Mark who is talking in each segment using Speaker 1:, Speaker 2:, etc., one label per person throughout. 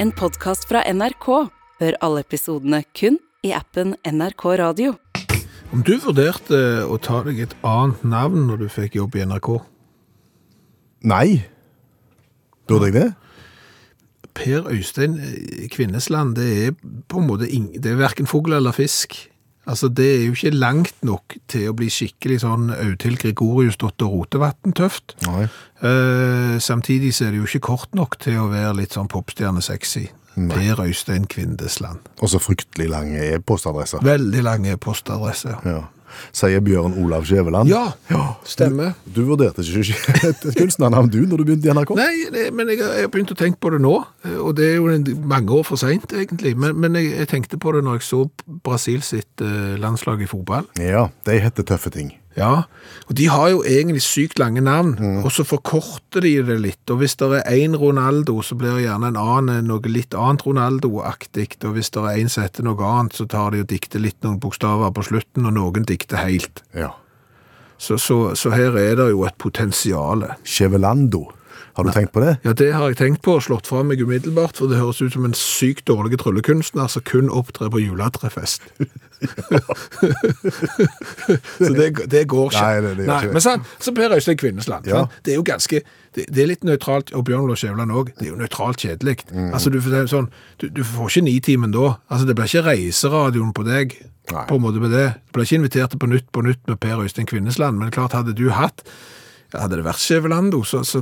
Speaker 1: En podkast fra NRK. Hør alle episodene kun i appen NRK Radio.
Speaker 2: Om du vurderte eh, å ta deg et annet navn når du fikk jobb i NRK?
Speaker 3: Nei. Burde jeg det?
Speaker 2: Per Øystein eh, Kvinnesland, det er på en måte ing- det er verken fugl eller fisk. Altså, det er jo ikke langt nok til å bli skikkelig sånn Audhild Gregorius dotter Rotevatn tøft.
Speaker 3: Nei.
Speaker 2: Eh, samtidig så er det jo ikke kort nok til å være litt sånn popstjerne-sexy. Per Øystein Kvindesland.
Speaker 3: Og så fryktelig lange e-postadresser.
Speaker 2: Veldig lange postadresse.
Speaker 3: Ja. Sier Bjørn Olav Skjæveland.
Speaker 2: Ja, stemmer.
Speaker 3: Du vurderte ikke et kunstnernavn du når du begynte i NRK?
Speaker 2: Nei, det, men jeg har jeg har begynt å tenke på det nå, og det er jo en, mange år for seint, egentlig. Men, men jeg, jeg tenkte på det når jeg så Brasil sitt eh, landslag i fotball.
Speaker 3: Ja, de heter tøffe ting.
Speaker 2: Ja, og De har jo egentlig sykt lange navn, og så forkorter de det litt. og Hvis det er én Ronaldo, så blir det gjerne en annen noe litt annet Ronaldo-aktig. Og hvis det er én som heter noe annet, så tar de og dikter litt noen bokstaver på slutten, og noen dikter helt.
Speaker 3: Ja.
Speaker 2: Så, så, så her er det jo et potensiale.
Speaker 3: Skjævelando. Har du tenkt på det?
Speaker 2: Ja, det har jeg tenkt på og slått fra meg umiddelbart, for det høres ut som en sykt dårlig tryllekunstner som kun opptrer på juletrefest. så det, det går ikke.
Speaker 3: Nei, det- det gjør ikke det.
Speaker 2: Men sant, så Per Øystein Kvinnesland,
Speaker 3: Ja.
Speaker 2: sant? det er jo ganske, det, det er litt nøytralt, og Bjørn Lars Skjævland også, det er jo nøytralt kjedelig.
Speaker 3: Mm.
Speaker 2: Altså, du, får- det er sånn, du, du får ikke nitimen da, altså det blir ikke reiseradioen på deg,
Speaker 3: Nei.
Speaker 2: på en måte med det. Du blir ikke invitert til på nytt på nytt med Per Øystein Kvinnesland, men klart hadde du hatt ja, Hadde det vært Skjævelando, så, så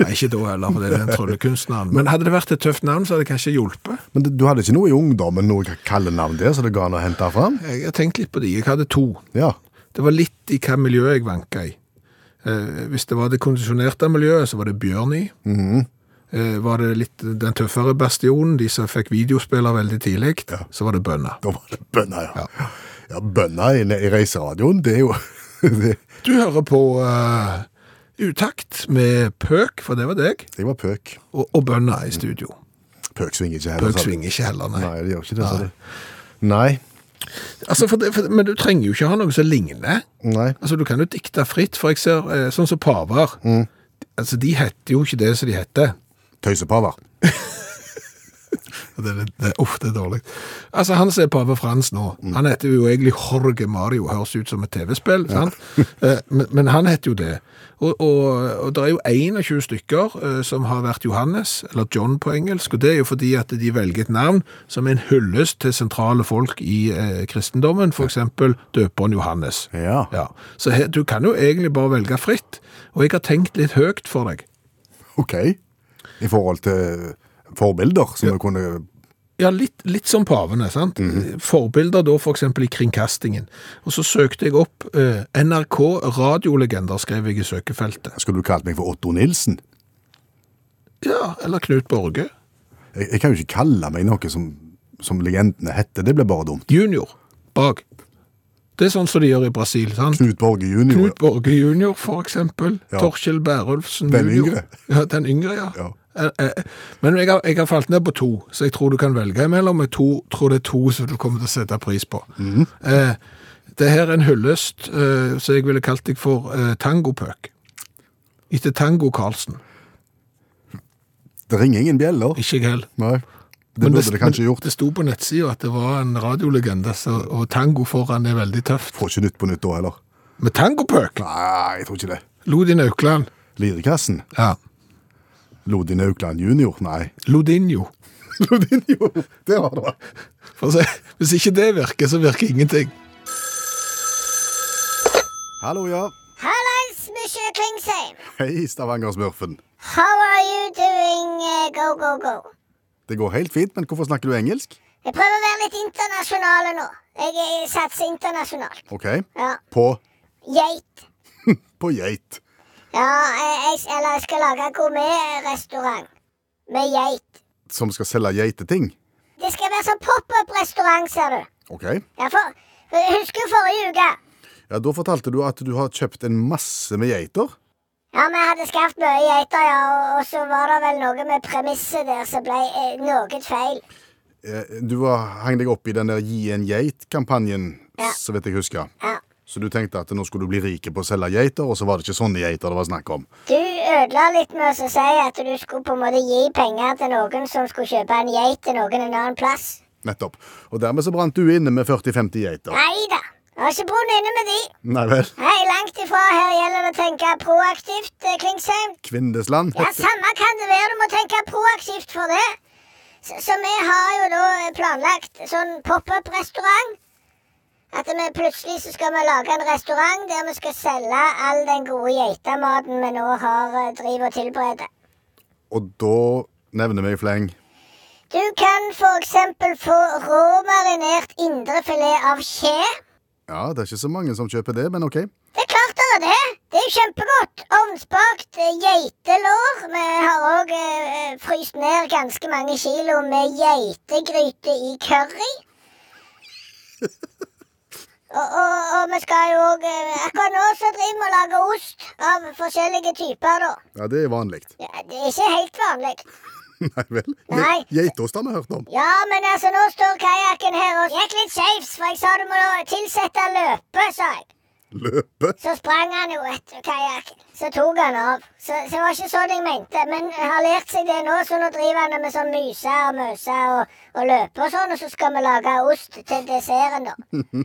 Speaker 2: Nei, ikke da heller, for det er den tryllekunstneren. Men hadde det vært et tøft navn, så hadde det kanskje hjulpet.
Speaker 3: Men du hadde ikke noe i ungdommen, noe kallenavn der, så det ga an å hente fram?
Speaker 2: Jeg har tenkt litt på de. Jeg hadde to.
Speaker 3: Ja.
Speaker 2: Det var litt i hva miljø jeg vanka i. Eh, hvis det var det kondisjonerte miljøet, så var det Bjørny. eh, var det litt den tøffere bastionen, de som fikk videospiller veldig tidlig, så var det Bønna.
Speaker 3: Da var det bønna, ja. Ja, bønna i, i reiseradioen, det er jo det,
Speaker 2: Du hører på eh, Utakt med Pøk, for det var deg,
Speaker 3: det var pøk.
Speaker 2: og, og Bønna i studio.
Speaker 3: Pøk svinger ikke heller.
Speaker 2: Pøk
Speaker 3: sa du.
Speaker 2: svinger ikke heller, nei.
Speaker 3: Nei, det gjør ikke det. sa du. Nei.
Speaker 2: Altså, for det, for, men du trenger jo ikke ha noe som ligner.
Speaker 3: Nei.
Speaker 2: Altså, du kan jo dikte fritt, for jeg ser eh, sånn som paver. Altså, de heter jo ikke det som de heter.
Speaker 3: Tøysepaver.
Speaker 2: Og Det, det, det, uff, det er dårlig. Altså, han som er pave Frans nå, han heter jo egentlig Jorge Mario, høres ut som et TV-spill, sant? Eh, men, men han heter jo det. Og, og, og det er jo 21 stykker eh, som har vært Johannes, eller John på engelsk, og det er jo fordi at de velger et navn som er en hyllest til sentrale folk i eh, kristendommen, for eksempel døperen Johannes.
Speaker 3: Ja.
Speaker 2: Ja, så he, du kan jo egentlig bare velge fritt, og jeg har tenkt litt høyt for deg.
Speaker 3: Ok. I forhold til forbilder som du kunne
Speaker 2: Ja, litt, litt som pavene, sant?
Speaker 3: Mhm.
Speaker 2: Forbilder da for eksempel i kringkastingen. Og så søkte jeg opp eh, NRK radiolegender, skrev jeg i søkefeltet.
Speaker 3: Skulle du kalt meg for Otto Nilsen?
Speaker 2: Ja, eller Knut Borge.
Speaker 3: Jeg, jeg kan jo ikke kalle meg noe som, som legendene heter. Det blir bare dumt.
Speaker 2: Junior, bak. Det er sånn som de gjør i Brasil, sant?
Speaker 3: Knut Borge jr.
Speaker 2: Knut Borge junior, for eksempel.
Speaker 3: Ja.
Speaker 2: Torkjell Bærulfsen
Speaker 3: Den
Speaker 2: junior.
Speaker 3: yngre.
Speaker 2: Ja, den yngre, ja.
Speaker 3: Ja.
Speaker 2: Eh, eh, Men jeg har, jeg har falt ned på to, så jeg tror du kan velge imellom. Jeg to, tror det er to som du kommer til å sette pris på.
Speaker 3: Mhm.
Speaker 2: Eh, det her er en hyllest, eh, så jeg ville kalt deg for eh, tangopøk. Etter Tango Karlsen.
Speaker 3: Det ringer ingen bjeller.
Speaker 2: Ikke jeg heller.
Speaker 3: Nei. Det
Speaker 2: Men
Speaker 3: burde det kanskje
Speaker 2: men
Speaker 3: gjort.
Speaker 2: Det sto på nettsida at det var en radiolegende, så, og tango foran er veldig tøft.
Speaker 3: Får ikke Nytt på Nytt da heller.
Speaker 2: Med tangopøk!
Speaker 3: Nei, jeg tror ikke det.
Speaker 2: Lodin Aukland.
Speaker 3: Lirekassen.
Speaker 2: Ja.
Speaker 3: Lodin Aukland jr. Nei.
Speaker 2: Lodinjo.
Speaker 3: Lodin, jo. Det har det.
Speaker 2: For å si, hvis ikke det virker, så virker ingenting.
Speaker 3: Hallo, ja.
Speaker 4: Hallais, Monsieur Klingsheim.
Speaker 3: Hei, Stavanger-smurfen.
Speaker 4: How are you doing, eh, go, go, go?
Speaker 3: Det går helt fint, men hvorfor snakker du engelsk?
Speaker 4: Jeg prøver å være litt internasjonal nå. Jeg eh, satser internasjonalt.
Speaker 3: Ok.
Speaker 4: Ja.
Speaker 3: På,
Speaker 4: Geit.
Speaker 3: på geit.
Speaker 4: Ja, eh, jeg, eller jeg skal lage gourmetrestaurant med geit.
Speaker 3: Som skal selge geiteting.
Speaker 4: Det skal være sånn pop-up-restaurant, ser du.
Speaker 3: Ok.
Speaker 4: Ja, for eh, Husker du forrige uke?
Speaker 3: Ja, Da fortalte du at du har kjøpt en masse med geiter.
Speaker 4: Ja, vi hadde skaffet mye geiter, ja, og, og så var det vel noe med premisset der som ble eh, noe feil.
Speaker 3: Eh, Du var, hang deg opp i den der Gi en geit-kampanjen,
Speaker 4: Ja.
Speaker 3: så vidt jeg husker.
Speaker 4: Ja.
Speaker 3: Så du tenkte at nå skulle du bli rike på å selge geiter, og så var det ikke sånne geiter det var snakk om.
Speaker 4: Du ødela litt med å si at du skulle på en måte gi penger til noen som skulle kjøpe en geit til noen en annen plass.
Speaker 3: Nettopp. Og dermed så brant du inne med 40-50 geiter.
Speaker 4: Nei da. Jeg har ikke brunnet inne med de.
Speaker 3: Nei vel.
Speaker 4: Hei, langt ifra. Her gjelder det å tenke proaktivt, eh, Klingsheim.
Speaker 3: Kvindesland.
Speaker 4: Ja, samme kan det være. Du må tenke proaktivt for det. Så, så vi har jo da eh, planlagt sånn pop-up-restaurant. At vi plutselig så skal vi lage en restaurant der vi skal selge all den gode geitematen vi nå har eh, driv og tilbereder.
Speaker 3: Og da nevner vi i fleng.
Speaker 4: Du kan f.eks. få råmarinert indrefilet av kje.
Speaker 3: Ja, det er ikke så mange som kjøper det, men OK.
Speaker 4: Det er klart det er det. Det er jo kjempegodt. Ovnsbakt eh, geitelår. Vi har òg eh, fryst ned ganske mange kilo med geitegryte i curry. Og, og, og vi skal jo òg eh, Akkurat nå så driver vi og lager ost av forskjellige typer, da.
Speaker 3: Ja, det er vanlig.
Speaker 4: Ja, det er ikke helt vanlig.
Speaker 3: Nei vel.
Speaker 4: Nei.
Speaker 3: Ge- Geitost har vi hørt om.
Speaker 4: Ja, men altså, nå står kajakken her og gikk litt skeivs, for jeg sa du må tilsette løpe, sa jeg.
Speaker 3: Løpe.
Speaker 4: Så sprang han jo etter kajakken. Så tok han av. Så, så det var ikke sånn jeg mente. Men han har lært seg det nå, så nå driver han med sånn myse og møse og, og løpe og sånn. Og så skal vi lage ost til desserten, da.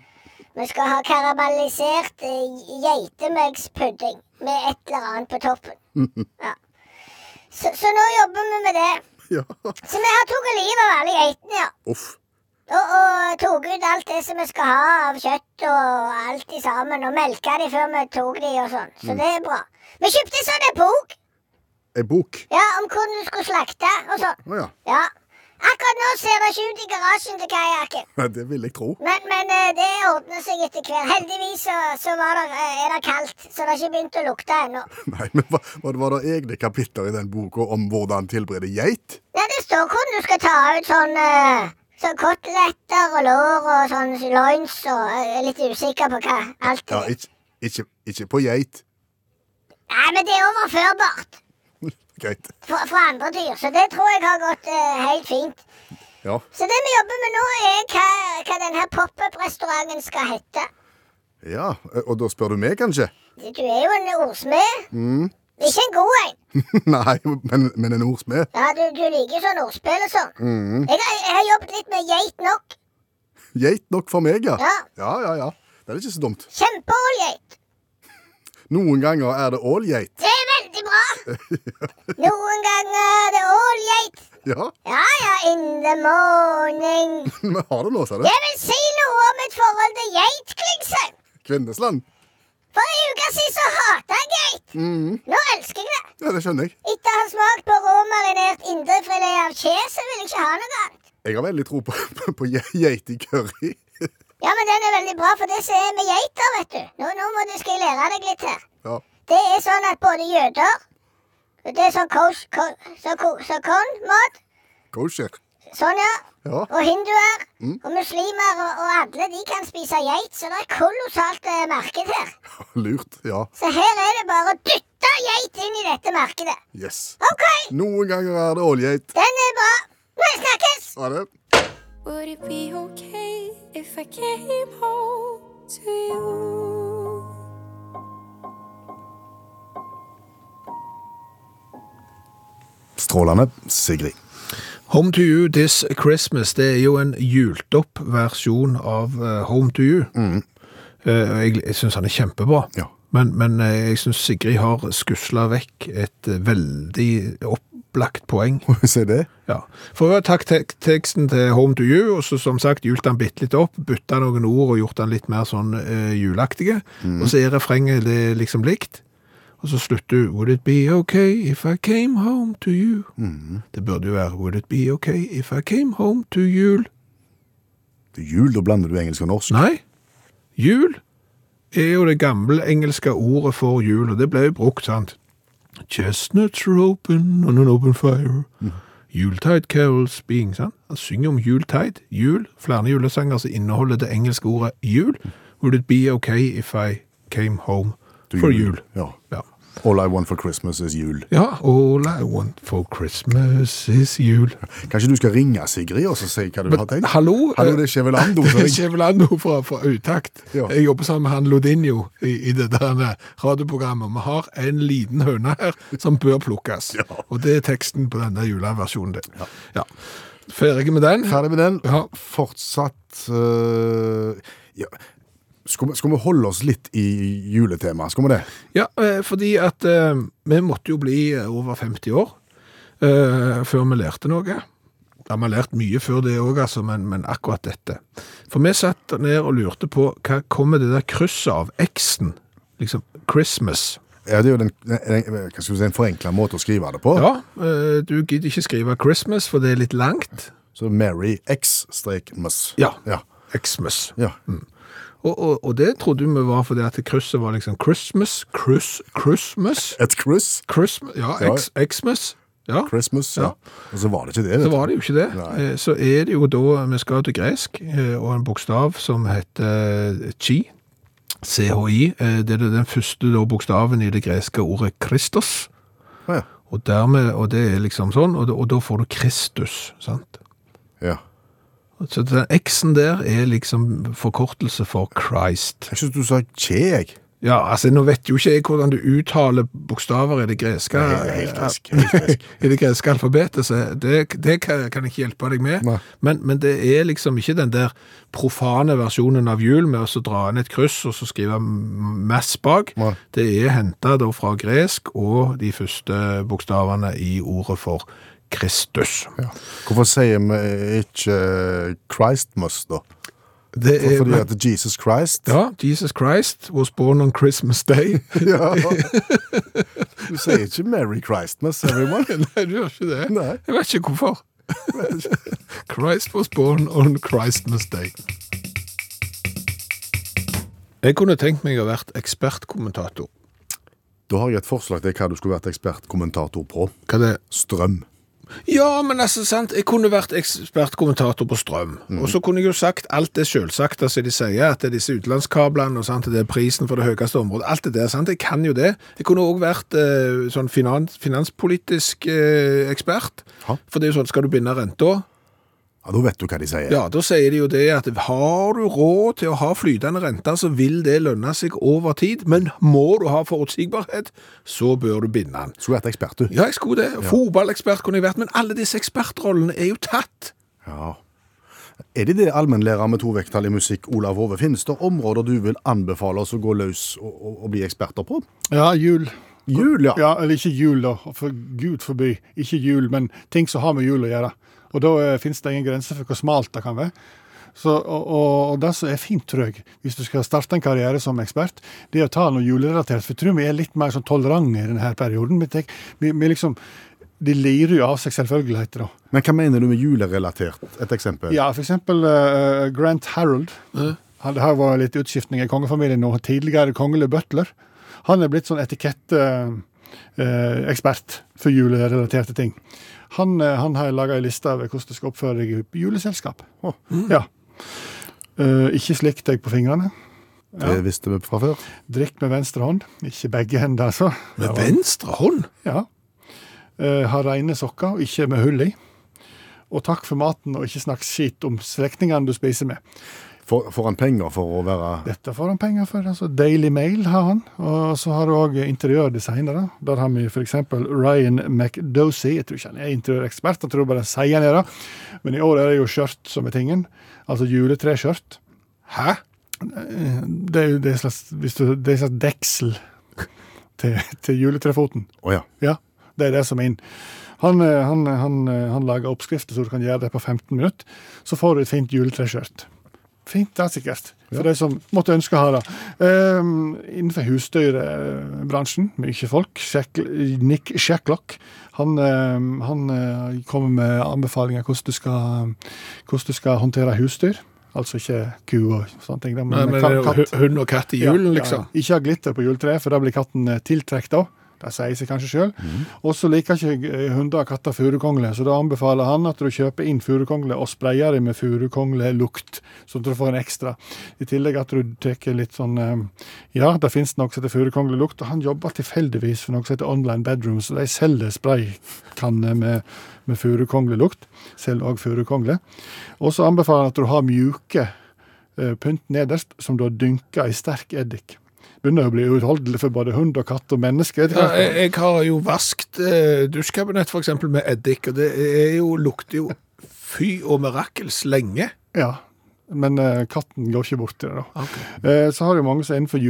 Speaker 4: Vi skal ha karamellisert eh, geitemelkspudding med et eller annet på toppen. Ja. Så, så nå jobber vi med det.
Speaker 3: Ja.
Speaker 4: Så vi har tatt livet av alle geitene, ja.
Speaker 3: Uff.
Speaker 4: Og, og tok ut alt det som vi skal ha av kjøtt og alt i sammen. Og melka de før vi tok de og sånn. Så det er bra. Vi kjøpte sånn en bok
Speaker 3: Ei bok.
Speaker 4: ja, om hvordan du skulle slakte og sånn.
Speaker 3: Å ja.
Speaker 4: Ja. Akkurat nå ser det ikke ut i garasjen til kajakken.
Speaker 3: Nei, Det vil jeg tro.
Speaker 4: Men, men eh, det ordner seg etter hvert. Heldigvis så, så var det, eh, er det kaldt, så det har ikke begynt å lukte ennå.
Speaker 3: Nei, men hva, var det- var det egne kapitler i den boka om hvordan tilberede geit?
Speaker 4: Nei, det står hvordan du skal ta ut sånn eh, Sånn koteletter og lår og sånn loins og eh, Jeg er litt usikker på hva alt
Speaker 3: Ja, ikke, ikke, ikke på geit.
Speaker 4: Nei, men det er overførbart
Speaker 3: Greit.
Speaker 4: fra, fra andre dyr, så det tror jeg har gått eh, helt fint.
Speaker 3: Ja.
Speaker 4: Så det vi jobber med nå, er hva, hva denne pop-up-restauranten skal hete.
Speaker 3: ja. Og da spør du meg, kanskje?
Speaker 4: Du er jo en ordsmed. Ikke en god en.
Speaker 3: Nei, men, men en ordsmed?
Speaker 4: Ja, Du, du liker jo sånn ordspill og sånn. Jeg, har- jeg har jobbet litt med geit nok.
Speaker 3: Geit nok for meg, ja.
Speaker 4: Ja.
Speaker 3: Ja, ja, ja. Det er ikke så dumt.
Speaker 4: Kjempeålgeit.
Speaker 3: Noen ganger er det ålgeit.
Speaker 4: Det er veldig bra. Noen ganger er det ålgeit.
Speaker 3: Ja,
Speaker 4: Ja ja, in the morning.
Speaker 3: vi har det nå, ser du.
Speaker 4: Jeg vil si noe om mitt forhold til geit, Klingsheim.
Speaker 3: Kvinnesland.
Speaker 4: For en uke siden så hata jeg geit. Nå elsker jeg det.
Speaker 3: Ja, det skjønner jeg.
Speaker 4: Etter å ha smakt på råmarinert indrefilet av kje, så vil jeg ikke ha noe annet.
Speaker 3: Jeg har veldig tro på, på, på ge- geit i curry.
Speaker 4: Ja, men den er veldig bra, for det som er med geiter, vet du Nå, nå må du skal jeg lære deg litt her.
Speaker 3: Ja.
Speaker 4: Det er sånn at både jøder og Det er sånn kos... ko- så ko- så kornmat.
Speaker 3: Kosher.
Speaker 4: Sånn, ja.
Speaker 3: Ja.
Speaker 4: Og hinduer og muslimer og, og alle de kan spise geit, så det er kolossalt eh, marked her.
Speaker 3: Lurt. Ja.
Speaker 4: Så her er det bare å dytte geit inn i dette markedet.
Speaker 3: Yes.
Speaker 4: OK,
Speaker 3: Noen ganger er det ålgeit.
Speaker 4: den er bra. Vi snakkes!
Speaker 3: Ha det.
Speaker 5: Would it be okay if I came home to you?
Speaker 3: Strålende. Sigrid.
Speaker 2: Home to you this Christmas, det er jo en jult opp versjon av eh, Home to you. Eh, og jeg jeg syns han er kjempebra.
Speaker 3: Ja.
Speaker 2: Men, men eh, jeg syns Sigrid har skusla vekk et eh, veldig opplagt poeng.
Speaker 3: Se det.
Speaker 2: Ja. For hun har tatt tek teksten til Home to you, og så som sagt hjult han bitte litt opp, bytta noen ord og gjort han litt mer sånn eh, julaktige. Og så er refrenget det liksom likt. Og så slutter hun Would it be okay if I came home to you? Det burde jo være Would it be okay if I came home to jul?
Speaker 3: Til jul, da blander du engelsk og norsk.
Speaker 2: Nei. Jul er jo det gamle engelske ordet for jul, og det ble jo brukt, sant? Chestnuts are open on an open fire. Yuletide carols being, sant? Han synger om juletide, jul, flere julesanger som inneholder det engelske ordet jul. Would it be okay if I came home
Speaker 3: Til
Speaker 2: for jul?
Speaker 3: Ja.
Speaker 2: Ja.
Speaker 3: All I want for Christmas is jul.
Speaker 2: Ja, all I want for Christmas is jul.
Speaker 3: Kanskje du skal ringe Sigrid og så si hva du har tenkt?
Speaker 2: hallo,
Speaker 3: hallo,
Speaker 2: eh,
Speaker 3: det er Skjevelando.
Speaker 2: Det er Kjevelando fra, fra Utakt.
Speaker 3: Ja.
Speaker 2: Jeg jobber sammen med han Lodinho i, i det der eh, radioprogrammet. Vi har en liten høne her som bør plukkes. Og det er teksten på denne juleversjonen din. Ja. Ferdig med den?
Speaker 3: Ferdig med den.
Speaker 2: Ja.
Speaker 3: Fortsatt eh, ja. skal, vi, skal vi holde oss litt i juletema? Skal vi det?
Speaker 2: Ja, eh, fordi at eh, vi måtte jo bli eh, over 50 år eh, før vi lærte noe. Ja, vi har lært mye før det òg, altså, men, men akkurat dette. For vi satt ned og lurte på hva kommer det der krysset av X-en? Liksom Christmas.
Speaker 3: Ja, det er jo den, den, den, hva skal vi si, en forenkla måte å skrive det på.
Speaker 2: Ja, eh, du gidder ikke skrive Christmas, for det er litt langt.
Speaker 3: Så Mary X-mus.
Speaker 2: Ja. Mm.
Speaker 3: ja.
Speaker 2: Xmas.
Speaker 3: Ja.
Speaker 2: Og, og, og det trodde vi var fordi at krysset var liksom Christmas, Chris, Christmas,
Speaker 3: Et kryss.
Speaker 2: Christmas, ja,
Speaker 3: Ja.
Speaker 2: X, Xmas. Ja.
Speaker 3: Christmas, ja.
Speaker 2: Ja.
Speaker 3: Og så var det ikke det.
Speaker 2: Så
Speaker 3: vet du.
Speaker 2: var det jo ikke det.
Speaker 3: Nei.
Speaker 2: Eh, Så er det jo da vi skal til gresk, eh, og en bokstav som heter eh, chi. CHI. eh, Det er den første da bokstaven i det greske ordet Kristos.
Speaker 3: Ja,
Speaker 2: Og, dermed, og det er liksom sånn, og, da- og da får du Kristus, sant?
Speaker 3: ja.
Speaker 2: Så den X-en der er liksom forkortelse for Christ.
Speaker 3: Jeg syns du sa kje, jeg.
Speaker 2: Ja, altså nå vet jo ikke jeg hvordan du uttaler bokstaver i det greske,
Speaker 3: Nei, helt frisk, helt frisk.
Speaker 2: i det greske alfabetet, så det, det kan kan jeg ikke hjelpe deg med.
Speaker 3: Nei.
Speaker 2: Men, men det er liksom ikke den der profane versjonen av jul med å så dra inn et kryss og så skrive m- mass bak.
Speaker 3: Nei.
Speaker 2: Det er hentet da fra gresk og de første bokstavene i ordet for Kristus.
Speaker 3: Hvorfor sier vi ikke eh, Christmas, da?
Speaker 2: Det
Speaker 3: For,
Speaker 2: er,
Speaker 3: fordi at Jesus Christ
Speaker 2: Eh, ja, Jesus Christ was born on Christmas Day.
Speaker 3: Ja. Du sier ikke Merry Christmas, everyone.
Speaker 2: Nei, du gjør ikke det.
Speaker 3: Nei.
Speaker 2: Jeg vet ikke hvorfor. Christ was born on Christmas Day. Jeg kunne tenkt meg å vært ekspertkommentator.
Speaker 3: Da har jeg et forslag til hva du skulle vært ekspertkommentator på.
Speaker 2: Hva det?
Speaker 3: Strøm.
Speaker 2: Ja, men altså, sant, jeg kunne vært ekspertkommentator på strøm. Og så kunne jeg jo sagt alt det selvsagte som de sier, at det er disse utenlandskablene, og sant, det er prisen for det høyeste området, alt det der, sant, jeg kan jo det. Jeg kunne også vært eh, sånn finans, finanspolitisk eh, ekspert.
Speaker 3: Ja.
Speaker 2: For det er jo sånn, skal du binde renta,
Speaker 3: Ja, Da vet du hva de sier.
Speaker 2: Ja, da sier de jo det at har du råd til å ha flytende renter, så vil det lønne seg over tid, men må du ha forutsigbarhet, så bør du binde den.
Speaker 3: Skulle vært ekspert, du.
Speaker 2: Ja, jeg skulle det. Fotballekspert kunne jeg vært, men alle disse ekspertrollene er jo tatt.
Speaker 3: Ja. Er det det allmennlærer med to vekttall i musikk, Olav Hove? Finnes det områder du vil anbefale oss å gå løs og, og, og bli eksperter på?
Speaker 6: Ja, jul.
Speaker 3: Jul, ja.
Speaker 6: Ja, Eller ikke jul, da. For gud forby. Ikke jul, men ting som har med jul å gjøre. Og da eh, finnes det ingen grenser for hvor smalt det kan være. Så, og, og, og det som er fint, tror jeg, hvis du skal starte en karriere som ekspert, det er å ta noe julerelatert. For jeg tror vi er litt mer sånn tolerante i denne her perioden. Vi, tenk, vi, vi liksom, De lirer jo av seg selvfølgeligheter, da.
Speaker 3: Men hva mener du med julerelatert? Et eksempel?
Speaker 6: Ja, for eksempel eh, Grant Harold. Han, det her var litt utskiftning i kongefamilien nå. Tidligere kongelig butler. Han er blitt sånn etiketteekspert for julerelaterte ting. Han, eh, han har laga ei liste over hvordan du skal oppføre deg i juleselskap. Mm. Ja. Eh, ikke slikk deg på fingrene.
Speaker 3: Det visste vi fra før.
Speaker 6: Drikk med venstre hånd. Ikke begge hender, altså.
Speaker 2: Med venstre hånd?
Speaker 6: Ja. Eh, ha rene sokker, og ikke med hull i. Og takk for maten, og ikke snakk skit om slektningene du spiser med.
Speaker 3: Får får han penger for å være
Speaker 6: Dette får han penger for. altså Daily Mail har han. Og så har du òg interiørdesignere. Der har vi f.eks. Ryan McDosey. Jeg tror ikke han er interiørekspert, jeg tror bare han sier han er det. Men i år er det jo skjørt som er tingen. Altså juletreskjørt.
Speaker 2: Hæ?
Speaker 6: Det er jo det slags, hvis du, det er slags deksel til, til juletrefoten.
Speaker 3: Å ja.
Speaker 6: Ja, det er det som er inn. Han, eh, han, han, eh, han lager oppskrifter så du kan gjøre det på 15 minutter. Så får du et fint juletreskjørt. Fint, det er sikkert. For de som måtte ønske å ha det. Ehm, innenfor husdyrbransjen, mye folk. Shack, Nick Shacklock. Han, ehm, han eh, kommer med anbefalinger hvordan du skal, hvordan du skal håndtere husdyr. Altså ikke ku og sånne ting. da,
Speaker 2: Nei, men
Speaker 6: ka-
Speaker 2: det er jo
Speaker 6: katt.
Speaker 2: hu- hund og katt i
Speaker 6: Ja,
Speaker 2: julen,
Speaker 6: ja,
Speaker 2: liksom.
Speaker 6: ja. Ikke ha glitter på juletreet, for da blir katten eh, tiltrekt av. Det sier seg kanskje sjøl. Og så liker ikke eh, hunder og katter furukongle, så da anbefaler han at du kjøper inn furukongle og sprayer det med furukonglelukt, så du får en ekstra. I tillegg at du tar litt sånn eh, Ja, det fins noe som heter furukonglelukt, og han jobber tilfeldigvis for noe som heter Online Bedrooms, og de selger spraykanner med, med furukonglelukt. Selger òg furukongle. Og så anbefaler han at du har mjuke eh, pynt nederst, som du har dynka i sterk eddik. Begynner å bli uutholdelig for både hund og katt og menneske. etter
Speaker 2: Ja,
Speaker 6: hvert.
Speaker 2: jeg, jeg har jo vaskt eh, dusjkabinett for eksempel med eddik, og det er jo, lukter jo fy og mirakels lenge.
Speaker 6: Ja, men eh, katten går ikke bort til det, da. Eh, så har du mange som er innenfor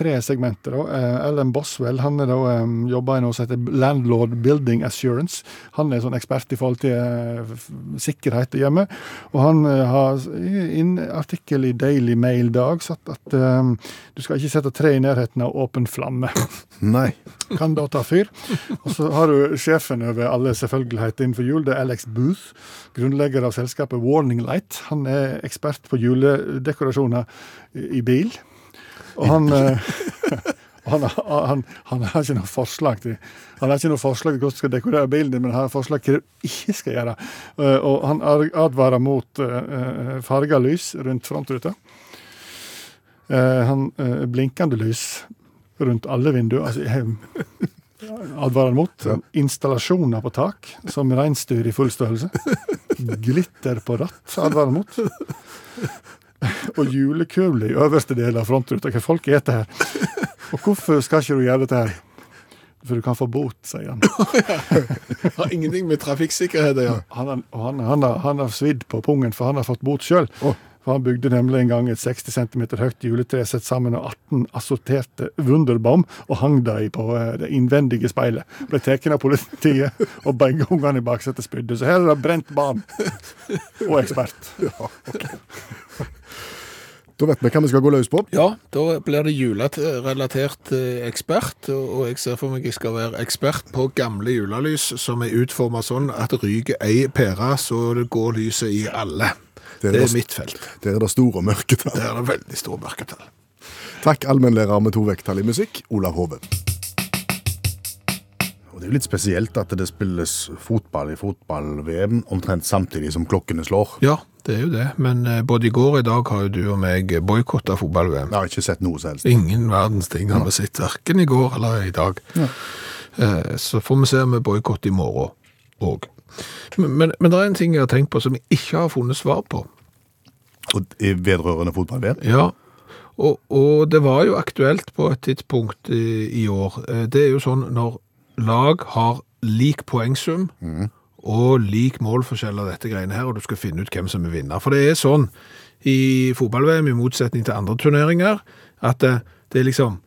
Speaker 6: juletresegmentet. da. Eh, Alan Boswell han er da, eh, jobber i noe som heter Landlord Building Assurance. Han er sånn ekspert i forhold til eh, f- sikkerhet hjemme. Og han eh, har s- i en artikkel i Daily Mail i dag satt at eh, du skal ikke sette tre i nærheten av åpen flamme.
Speaker 3: Nei.
Speaker 6: Kan da ta fyr. Og så har du sjefen over alle selvfølgeligheter innenfor jul. Det er Alex Booth, grunnlegger av selskapet Warning Light. Han er ekspert på juledekorasjoner i bil. Og han, eh, og han, han, han har ikke noe forslag til Han har ikke noe forslag til hvordan du skal dekorere bilen din, men han har forslag til hva du ikke skal gjøre. Eh, Og han ar- advarer mot eh, eh, farga lys rundt frontruta. Eh, Han eh, blinkende lys rundt alle vinduer. Altså, jeg advarer han mot. Installasjoner på tak, som reinsdyr i full størrelse. Glitter på ratt advarer han mot. Og julekuler i øverste del av frontruta. Hva folk eter her. Og hvorfor skal ikke du gjøre dette her? For du kan få bot, sier han.
Speaker 2: Har ingenting med trafikksikkerhet å gjøre.
Speaker 6: Han, har- og han, han, har, han har svidd på pungen, for han har fått bot sjøl. For han bygde nemlig en gang et 60 cm høyt juletre sett sammen av 18 assorterte Wunderbaum og hang dem på eh, det innvendige speilet. Ble tatt av politiet, og begge ungene i baksetet spydde. Så her er det brent barn og ekspert.
Speaker 3: Da vet vi hva vi skal gå løs på.
Speaker 2: Ja, da blir det julerelatert eh, ekspert, og og jeg ser for meg jeg skal være ekspert på gamle julelys som er utformet sånn at ryker ei pære, så det går lyset i alle.
Speaker 3: Det er
Speaker 2: Det er,
Speaker 3: det-
Speaker 2: mitt felt.
Speaker 3: Der er det store mørketall.
Speaker 2: Der er det veldig store mørketall.
Speaker 3: Takk allmennlærer med to vekttall i musikk, Olav Hove. Og Det er jo litt spesielt at det spilles fotball i fotball-VM omtrent samtidig som klokkene slår.
Speaker 2: Ja, det er jo det, men eh, både i går og i dag har jo du og meg boykottet fotball-VM.
Speaker 3: Jeg har ikke sett noe som helst.
Speaker 2: Ingen verdens ting har vi sett, verken i går eller i dag. Eh, Så får vi se om vi boikotter i morgen òg. Men, men, men det er en ting jeg har tenkt på som jeg ikke har funnet svar på.
Speaker 3: Og i vedrørende fotball-VM?
Speaker 2: Ja, og, og det var jo aktuelt på et tidspunkt i, i år. Eh, Det er jo sånn når lag har lik poengsum og lik målforskjell av dette greiene her, og du skal finne ut hvem som er vinner. For det er sånn i fotball-VM, i motsetning til andre turneringer, at eh, det er liksom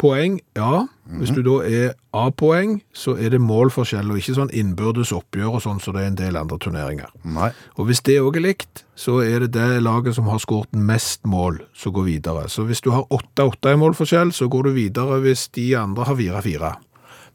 Speaker 2: poeng, ja. Hvis du da er A-poeng, så er det målforskjell, og ikke sånn innbyrdes oppgjør og sånn som det er en del andre turneringer.
Speaker 3: Nei.
Speaker 2: Og hvis det òg er likt, så er det det laget som har skåret mest mål, som går videre. Så hvis du har 8-8 i målforskjell, så går du videre hvis de andre har 4-4.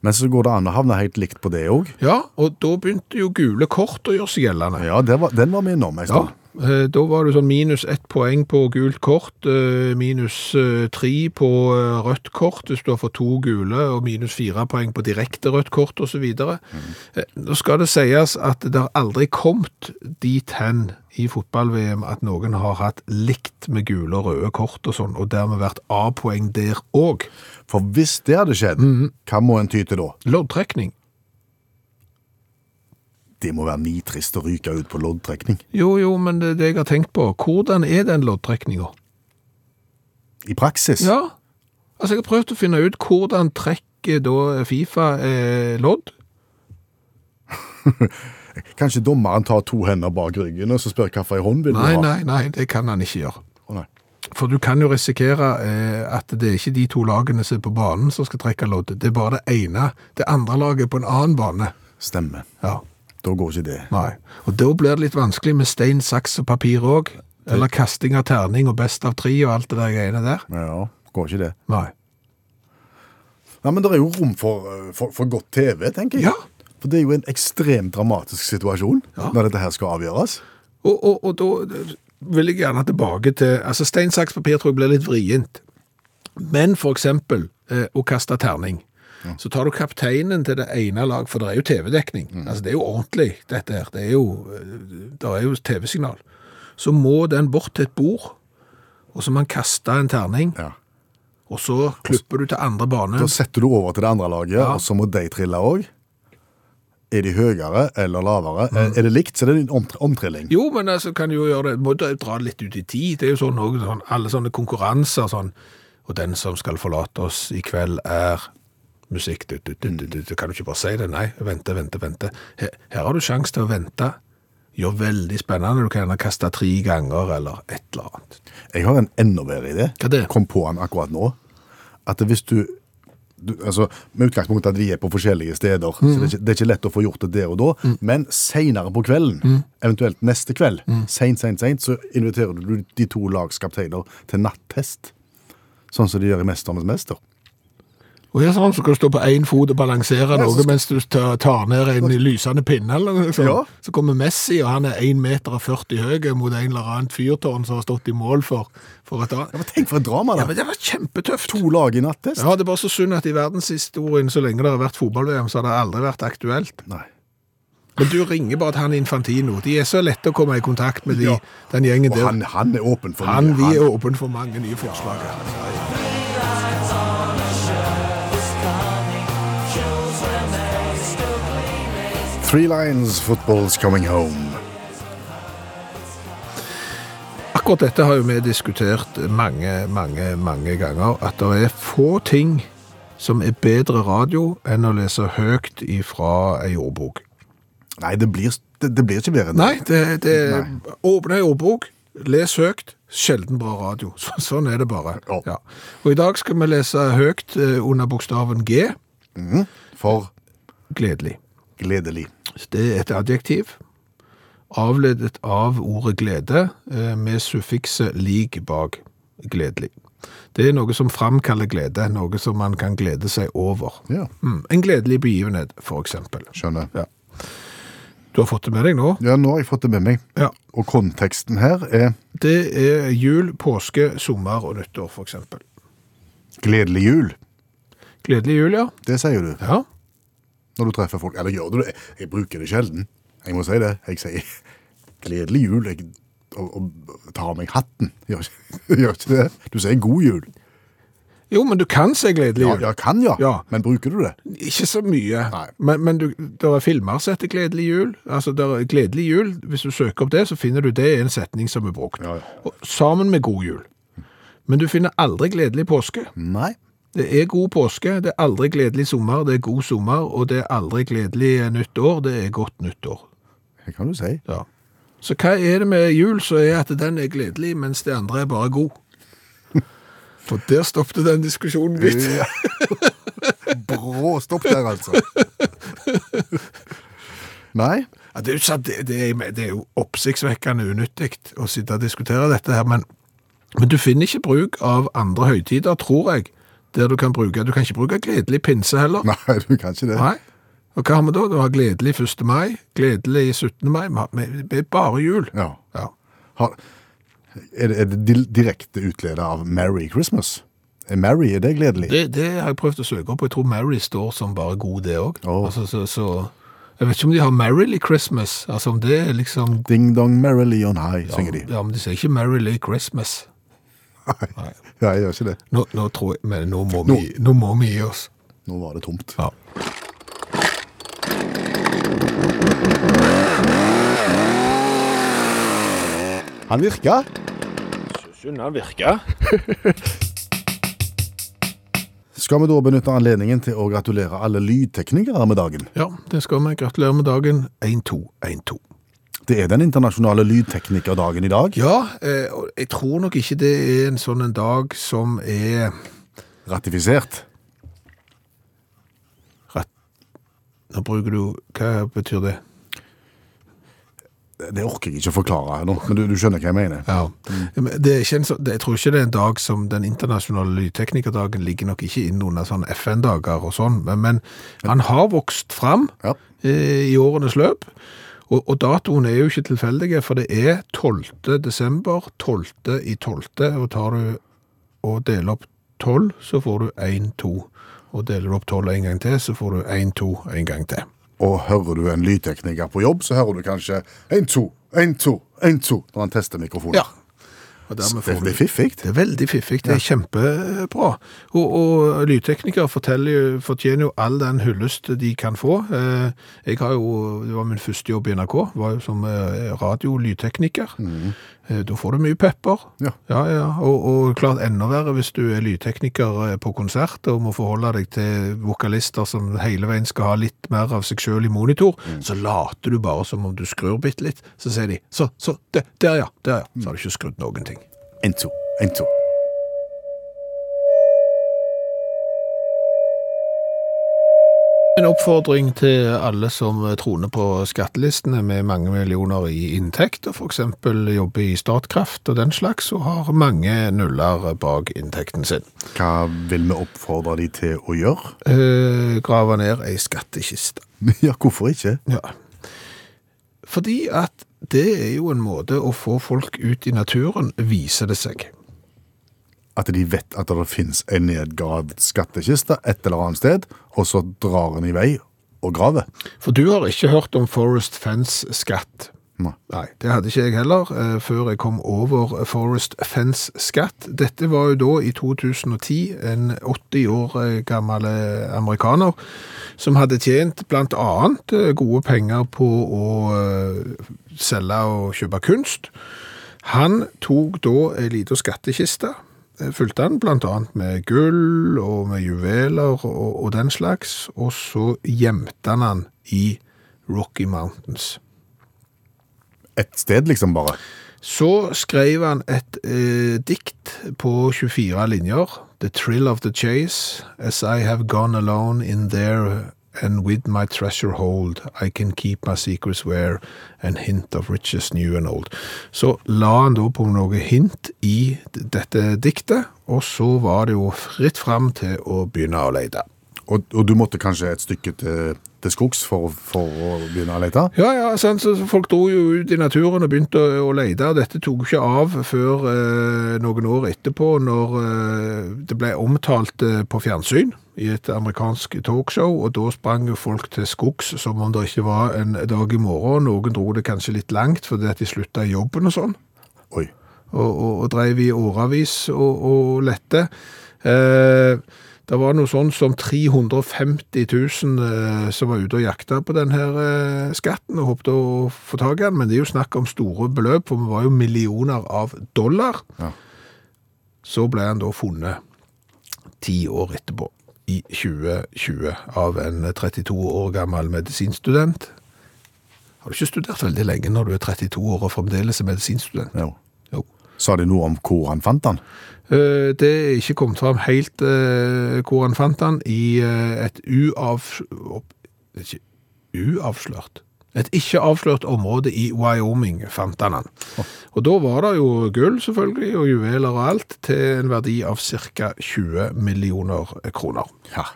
Speaker 3: Men så går det an å havne helt likt på det òg.
Speaker 2: Ja, og da begynte jo gule kort å gjøre seg gjeldende.
Speaker 3: Ja, det var, den var vi innom en
Speaker 2: Ja,
Speaker 3: stund.
Speaker 2: eh, Da var det sånn minus ett poeng på gult kort, eh, minus eh, tre på eh, rødt kort hvis du har fått to gule, og minus fire poeng på direkte rødt kort osv. Eh, Nå skal det sies at det har aldri kommet dit hen i fotball-VM at noen har hatt likt med gule og røde kort og sånn, og dermed vært A-poeng der òg.
Speaker 3: For hvis det hadde skjedd, hva må en ty til da?
Speaker 2: Loddtrekning.
Speaker 3: Det må være nitrist å ryke ut på loddtrekning.
Speaker 2: Jo, jo, men det, er det jeg har tenkt på, hvordan er den loddtrekninga?
Speaker 3: I praksis.
Speaker 2: Ja. Altså, jeg har prøvd å finne ut hvordan trekker da Fifa eh, lodd.
Speaker 3: Kanskje dommeren tar to hender bak ryggen og så spør hvilken hånd vil du
Speaker 2: Nei,
Speaker 3: ha?
Speaker 2: nei, nei, det kan han ikke gjøre.
Speaker 3: Å, nei.
Speaker 2: For du kan jo risikere eh, at det er ikke de to lagene som er på banen som skal trekke loddet. Det er bare det ene. Det andre laget er på en annen bane.
Speaker 3: Stemmer.
Speaker 2: Ja,
Speaker 3: Da går ikke det.
Speaker 2: nei. Og da blir det litt vanskelig med stein, saks og papir òg. Eller kasting av terning og best av tre og alt det der greiene der.
Speaker 3: Ja, går ikke det.
Speaker 2: Nei.
Speaker 3: Nei, men det er jo rom for, eh, for, for godt TV, tenker jeg.
Speaker 2: Ja.
Speaker 3: For det er jo en ekstremt dramatisk situasjon når dette her skal avgjøres.
Speaker 2: Og, og, og da vil jeg gjerne tilbake til Altså, stein, saks, papir tror jeg blir litt vrient. Men for eksempel eh, å kaste terning. Så tar du kapteinen til det ene lag, for det er jo TV-dekning. Altså, det er jo ordentlig, dette her. Det er jo, eh, det er jo TV-signal. Så må den bort til et bord, og så må man kaste en terning,
Speaker 3: Ja.
Speaker 2: og så klipper du til andre bane.
Speaker 3: Da setter du over til det andre laget, og så må de trille òg. Er de høyere eller lavere? Eh, Er- Er det likt, så er det en omtr- omtrilling.
Speaker 2: Jo, men altså, kan du jo gjøre det. Må da dra det litt ut i tid. Det er jo sånn, også, sånn alle sånne konkurranser sånn. Og den som skal forlate oss i kveld er musikk. Du, du, du, du, du, du. Kan du ikke bare si det? Nei, vente, vente, vente. Her, her har du sjans til å vente. Gjør veldig spennende. Du kan gjerne kaste tre ganger eller et eller annet.
Speaker 3: Jeg har en enda bedre idé.
Speaker 2: Hva det?
Speaker 3: Kom på den akkurat nå. At hvis du, du altså, Med utgangspunkt i at vi er på forskjellige steder, så det er, ikke, det er ikke lett å få gjort det der og da, men seinere på kvelden, eventuelt neste kveld, seint, seint, seint, så inviterer du de to lagskapteiner til nattest. Sånn som de gjør i 'Mesternes mester'.
Speaker 2: Og her sånn, så kan du stå på én fot og balansere
Speaker 3: så
Speaker 2: noe
Speaker 3: skal-
Speaker 2: mens du tar, tar ned en lysende pinne. eller noe sånt.
Speaker 3: Ja.
Speaker 2: Så kommer Messi, og han er 1,40 meter høy mot en eller annen fyrtårn som har stått i mål for, for et annet.
Speaker 3: Ja, men Tenk for et drama,
Speaker 2: Ja,
Speaker 3: da!
Speaker 2: men det var kjempetøft.
Speaker 3: To lag i nattest.
Speaker 2: Ja, det er bare så synd at i verdenshistorien, så lenge det har vært fotball-VM, så har det aldri vært aktuelt.
Speaker 3: Nei.
Speaker 2: Men du ringer bare til han Infantino. De er så lette å komme i kontakt med de,
Speaker 3: Ja.
Speaker 2: den gjengen
Speaker 3: Og
Speaker 2: der.
Speaker 3: han, han er åpen for
Speaker 2: han,
Speaker 3: mye.
Speaker 2: vi er åpne for mange nye forslag.
Speaker 3: Three Lines Football's Coming Home.
Speaker 2: Akkurat dette har jo vi diskutert mange, mange, mange ganger, at det er få ting som er bedre radio enn å lese høyt ifra ei ordbok.
Speaker 3: Nei, det blir, det, det blir ikke bedre enn det.
Speaker 2: Nei, det, det åpne ei ordbok, les høyt, sjelden bra radio. Så, sånn er det bare.
Speaker 3: Ja.
Speaker 2: Og i dag skal vi lese høyt eh, under bokstaven G.
Speaker 3: For
Speaker 2: Gledelig.
Speaker 3: gledelig.
Speaker 2: Det er et adjektiv, avledet av ordet glede, eh, med suffikset lik bak gledelig. Det er noe som framkaller glede, noe som man kan glede seg over.
Speaker 3: Ja,
Speaker 2: Mm, en gledelig begivenhet, for eksempel.
Speaker 3: skjønner.
Speaker 2: Ja. Du har fått det med deg nå?
Speaker 3: Ja, nå har jeg fått det med meg.
Speaker 2: Ja.
Speaker 3: Og konteksten her er
Speaker 2: Det er jul, påske, sommer og nyttår, for eksempel.
Speaker 3: gledelig jul.
Speaker 2: Gledelig jul, ja.
Speaker 3: Det sier du
Speaker 2: Ja.
Speaker 3: når du treffer folk. Eller gjør du det? Jeg bruker det sjelden. Jeg må si det. Jeg sier gledelig jul jeg, og, og tar av meg hatten. Gjør ikke- gjør ikke det? Du sier god jul.
Speaker 2: Jo, men du kan se gledelig
Speaker 3: Ja,
Speaker 2: jul.
Speaker 3: ja kan ja.
Speaker 2: Ja.
Speaker 3: Men bruker du det?
Speaker 2: Ikke så mye.
Speaker 3: Nei.
Speaker 2: Men, men du, det er filmer som heter Gledelig jul. Altså, det er Gledelig jul, hvis du søker opp det, så finner du det er en setning som er brukt.
Speaker 3: Ja, ja.
Speaker 2: Og Sammen med God jul. Men du finner aldri gledelig påske.
Speaker 3: Nei.
Speaker 2: Det er god påske, det er aldri gledelig sommer, det er god sommer, og det er aldri gledelig eh, nytt år, det er godt nytt år.
Speaker 3: Det kan du si.
Speaker 2: Ja. Så hva er det med jul som er at den er gledelig, mens det andre er bare god? For der stoppte den diskusjonen litt.
Speaker 3: Brå stopp der, altså. Nei.
Speaker 2: Ja, det, er jo, sant, det, det, er, det er jo oppsiktsvekkende unyttig å sitte og diskutere dette her, men, men du finner ikke bruk av andre høytider, tror jeg, der du kan bruke. Du kan ikke bruke gledelig pinse heller.
Speaker 3: Nei, du kan ikke det.
Speaker 2: Nei. Og hva har vi da? Du har gledelig 1. mai, gledelig 17. mai, vi har- vi- vi er bare jul.
Speaker 3: Ja.
Speaker 2: Ja.
Speaker 3: Har, er, det, er det dil- direkte utledet av Merry Christmas? Er Merry, er det gledelig?
Speaker 2: Det, det har jeg prøvd å søke opp, og jeg tror Mary står som bare god det òg.
Speaker 3: Åh.
Speaker 2: Altså, så, så jeg vet ikke om de har Merrily Christmas, altså om det er liksom
Speaker 3: Ding dong merrily on high, synger de.
Speaker 2: Ja, men de sier ikke Merrily Christmas.
Speaker 3: Nei. Ja, jeg gjør ikke det.
Speaker 2: Nå, nå tror jeg, men nå må,
Speaker 3: Nå.
Speaker 2: Vi, nå må vi gi oss.
Speaker 3: Nå var det tomt.
Speaker 2: Ja.
Speaker 3: Han virka.
Speaker 7: Sunna virka.
Speaker 3: Skal vi da benytte anledningen til å gratulere alle lydteknikere med dagen?
Speaker 2: ja, det skal vi. Gratulerer med dagen. 1-2-1-2.
Speaker 3: Det er den internasjonale lydteknikerdagen i dag.
Speaker 2: Ja, eh, og jeg tror nok ikke det er en sånn en dag som er
Speaker 3: Ratifisert.
Speaker 2: rett... Nå bruker du Hva betyr det?
Speaker 3: Det orker jeg ikke å forklare her nå, men du, du skjønner hva jeg mener.
Speaker 2: Ja. Men Det er ikke en sånn, det- jeg tror ikke det er en dag som den internasjonale lydteknikerdagen ligger nok ikke inn under sånn FN-dager og sånn, men, men han har vokst fram
Speaker 3: Ja.
Speaker 2: eh, i årenes løp, og, og datoen er jo ikke tilfeldige, for det er 12. desember, 12. i 12. og tar du og deler opp 12, så får du 1, 2, Og deler du opp tolv en gang til, så får du én, to en gang til.
Speaker 3: Og hører du en lydtekniker på jobb, så hører du kanskje 1, 2, 1, 2, 1, 2 når han tester mikrofonen.
Speaker 2: Og
Speaker 3: Så
Speaker 2: dermed
Speaker 3: Det
Speaker 2: får du
Speaker 3: blir fiffig.
Speaker 2: Det er veldig fiffig. Det er kjempebra. Og, og lydteknikere forteller jo- fortjener jo all den hyllest de kan få. Eh, Jeg har jo, Det var min første jobb i NRK, var jo som eh, radiolydtekniker. Eh, Da får du mye pepper.
Speaker 3: Ja.
Speaker 2: Ja, ja. Og, og klart enda verre hvis du er lydtekniker eh, på konsert og må forholde deg til vokalister som hele veien skal ha litt mer av seg sjøl i monitor. Så later du bare som om du skrur bitte litt. Så sier de så, så, det, der ja, der ja. Så har du ikke skrudd noen ting.
Speaker 3: 1, 2, 1, 2.
Speaker 2: En oppfordring til alle som troner på skattelistene med mange millioner i inntekt, og f.eks. jobber i Statkraft og den slags, og har mange nuller bak inntekten sin.
Speaker 3: Hva vil vi oppfordre de til å gjøre?
Speaker 2: Eh, grave ned ei skattkiste.
Speaker 3: Ja, hvorfor ikke?
Speaker 2: Ja. Fordi at det er jo en måte å få folk ut i naturen, viser det seg.
Speaker 3: At de vet at det finnes en nedgravd skattkiste et eller annet sted, og så drar en i vei og graver.
Speaker 2: For du har ikke hørt om Forest Fence-skatt.
Speaker 3: Nei.
Speaker 2: det hadde ikke jeg heller, eh, før jeg kom over Forest Fence-skatt. Dette var jo da i 2010 en 80 år eh, gammel eh, amerikaner som hadde tjent blant annet eh, gode penger på å eh, selge og kjøpe kunst. Han tok da en liten skattkiste, eh, fulgte han blant annet med gull og med juveler og, og den slags, og så gjemte han han i Rocky Mountains.
Speaker 3: Et sted, liksom, bare.
Speaker 2: Så skrev han et eh, dikt på 24 linjer, The Thrill of the Chase, As I have gone alone in there and with my treasure hold, I can keep my secrets where, and hint of riches new and old. Så la han da på noe hint i d- dette diktet, og så var det jo fritt frem til å begynne å lete.
Speaker 3: Og, og du måtte kanskje et stykke til, til skogs for, å- for å begynne å lete?
Speaker 2: Ja, ja, sant? så folk dro jo ut i naturen og begynte å, å lete, og dette tok jo ikke av før eh, noen år etterpå, når eh, det ble omtalt eh, på fjernsyn i et amerikansk talkshow, og da sprang jo folk til skogs som om det ikke var en dag i morgen. Noen dro det kanskje litt langt fordi at de slutta i jobben og sånn
Speaker 3: Oi.
Speaker 2: og, og, og drev i åravis og, og lette. Eh, det var noe sånn som 350 000 eh, som var ute og jakta på denne eh, skatten og håpte å få tak i den, men det er jo snakk om store beløp, for vi var jo millioner av dollar.
Speaker 3: Ja.
Speaker 2: Så ble han da funnet ti år etterpå, i 2020, av en 32 år gammel medisinstudent. Har du ikke studert veldig lenge når du er 32 år og fremdeles er medisinstudent?
Speaker 3: Jo.
Speaker 2: Jo.
Speaker 3: Sa de noe om hvor han fant den?
Speaker 2: Eh, Det er ikke kommet fram helt eh, hvor han fant han i eh, et uavs... opp- Ikke uavslørt. Et ikke avslørt område i Wyoming fant han han. Og da var det jo gull selvfølgelig, og juveler og alt, til en verdi av ca. 20 millioner kroner.
Speaker 3: Ja.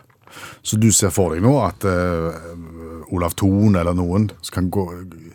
Speaker 3: Så du ser for deg nå at eh, Olav Thon eller noen som kan gå,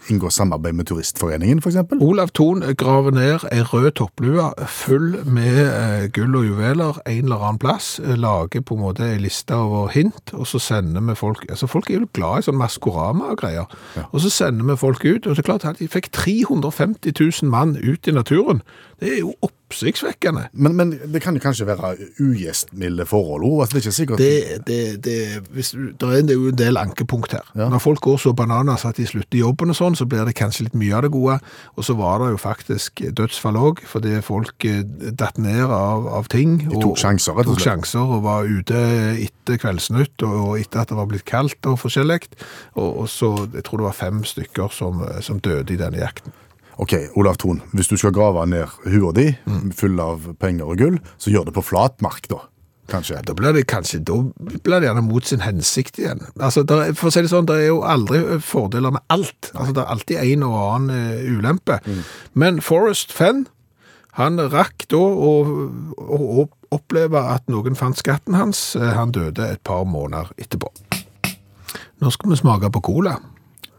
Speaker 3: inngå samarbeid med Turistforeningen, f.eks.?
Speaker 2: Olav Thon graver ned ei rød topplue full med eh, gull og juveler en eller annen plass, eh, lager på en måte ei liste over hint, og så sender vi folk altså Folk er jo glad i sånn Maskorama og greier. Og så sender vi folk ut, og det er klart at de fikk 350 000 mann ut i naturen. Det er jo oppsiktsvekkende.
Speaker 3: Men, men det kan jo kanskje være ugjestmilde forhold òg? Altså, det er ikke sikkert
Speaker 2: Det, det, det, hvis, du- der er, det er jo en del ankepunkt her. Når folk går så bananas at de slutter jobben og sånn, så blir det kanskje litt mye av det gode. Og så var det jo faktisk dødsfall òg, fordi folk eh, datt ned av, av ting. De
Speaker 3: tok sjanser, rett og
Speaker 2: tok
Speaker 3: slett.
Speaker 2: sjanser og var ute etter Kveldsnytt og, og etter at det var blitt kaldt og forskjellig. Og, og så, jeg tror det var fem stykker som, som døde i denne jakten.
Speaker 3: OK, Olav Thon, hvis du skal grave ned hua di
Speaker 2: Mm.
Speaker 3: full av penger og gull, så gjør det på flatmark, da. Kanskje.
Speaker 2: Da blir det kanskje da blir det gjerne mot sin hensikt igjen. Altså, der, er- for å si det sånn, det er jo aldri fordeler med alt. Altså, det er alltid en og annen eh, ulempe. Men Forrest Fenn, han rakk da å, å, å oppleve at noen fant skatten hans. Eh, Han døde et par måneder etterpå. Nå skal vi smake på cola.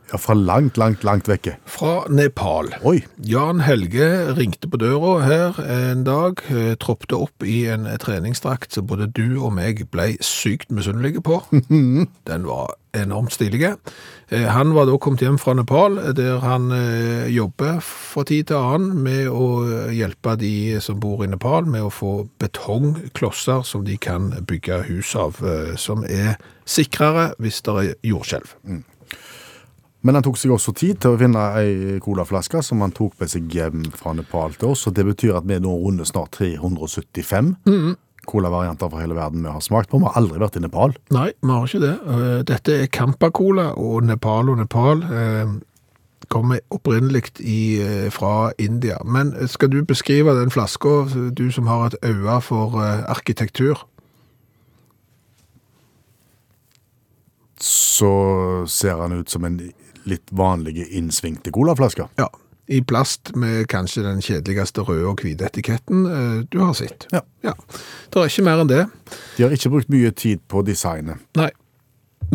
Speaker 3: Ja, fra langt, langt, langt vekke.
Speaker 2: Fra Nepal.
Speaker 3: Oi.
Speaker 2: Jan Helge ringte på døra her en dag, eh, troppte opp i en treningsdrakt som både du og meg ble sykt misunnelige på. Den var enormt stilige. Eh, Han var da kommet hjem fra Nepal, der han eh, jobber fra tid til annen med å hjelpe de som bor i Nepal med å få betongklosser som de kan bygge hus av, eh, som er sikrere hvis det er jordskjelv.
Speaker 3: Men han tok seg også tid til å finne ei colaflaske som han tok med seg hjem fra Nepal til oss. Og det betyr at vi nå runder snart 375 colavarianter fra hele verden vi har smakt på. Vi har aldri vært i Nepal.
Speaker 2: Nei, vi har ikke det. Eh, Dette er Kampa-cola, og Nepal og Nepal eh, kommer opprinnelig i, eh, fra India. Men skal du beskrive den flaska, du som har et øye for eh, arkitektur?
Speaker 3: Så ser han ut som en litt vanlig innsvingte colaflaske.
Speaker 2: Ja. I plast med kanskje den kjedeligste røde og hvite etiketten eh, du har sett.
Speaker 3: Ja.
Speaker 2: Det er ikke mer enn det.
Speaker 3: De har ikke brukt mye tid på designet.
Speaker 2: Nei.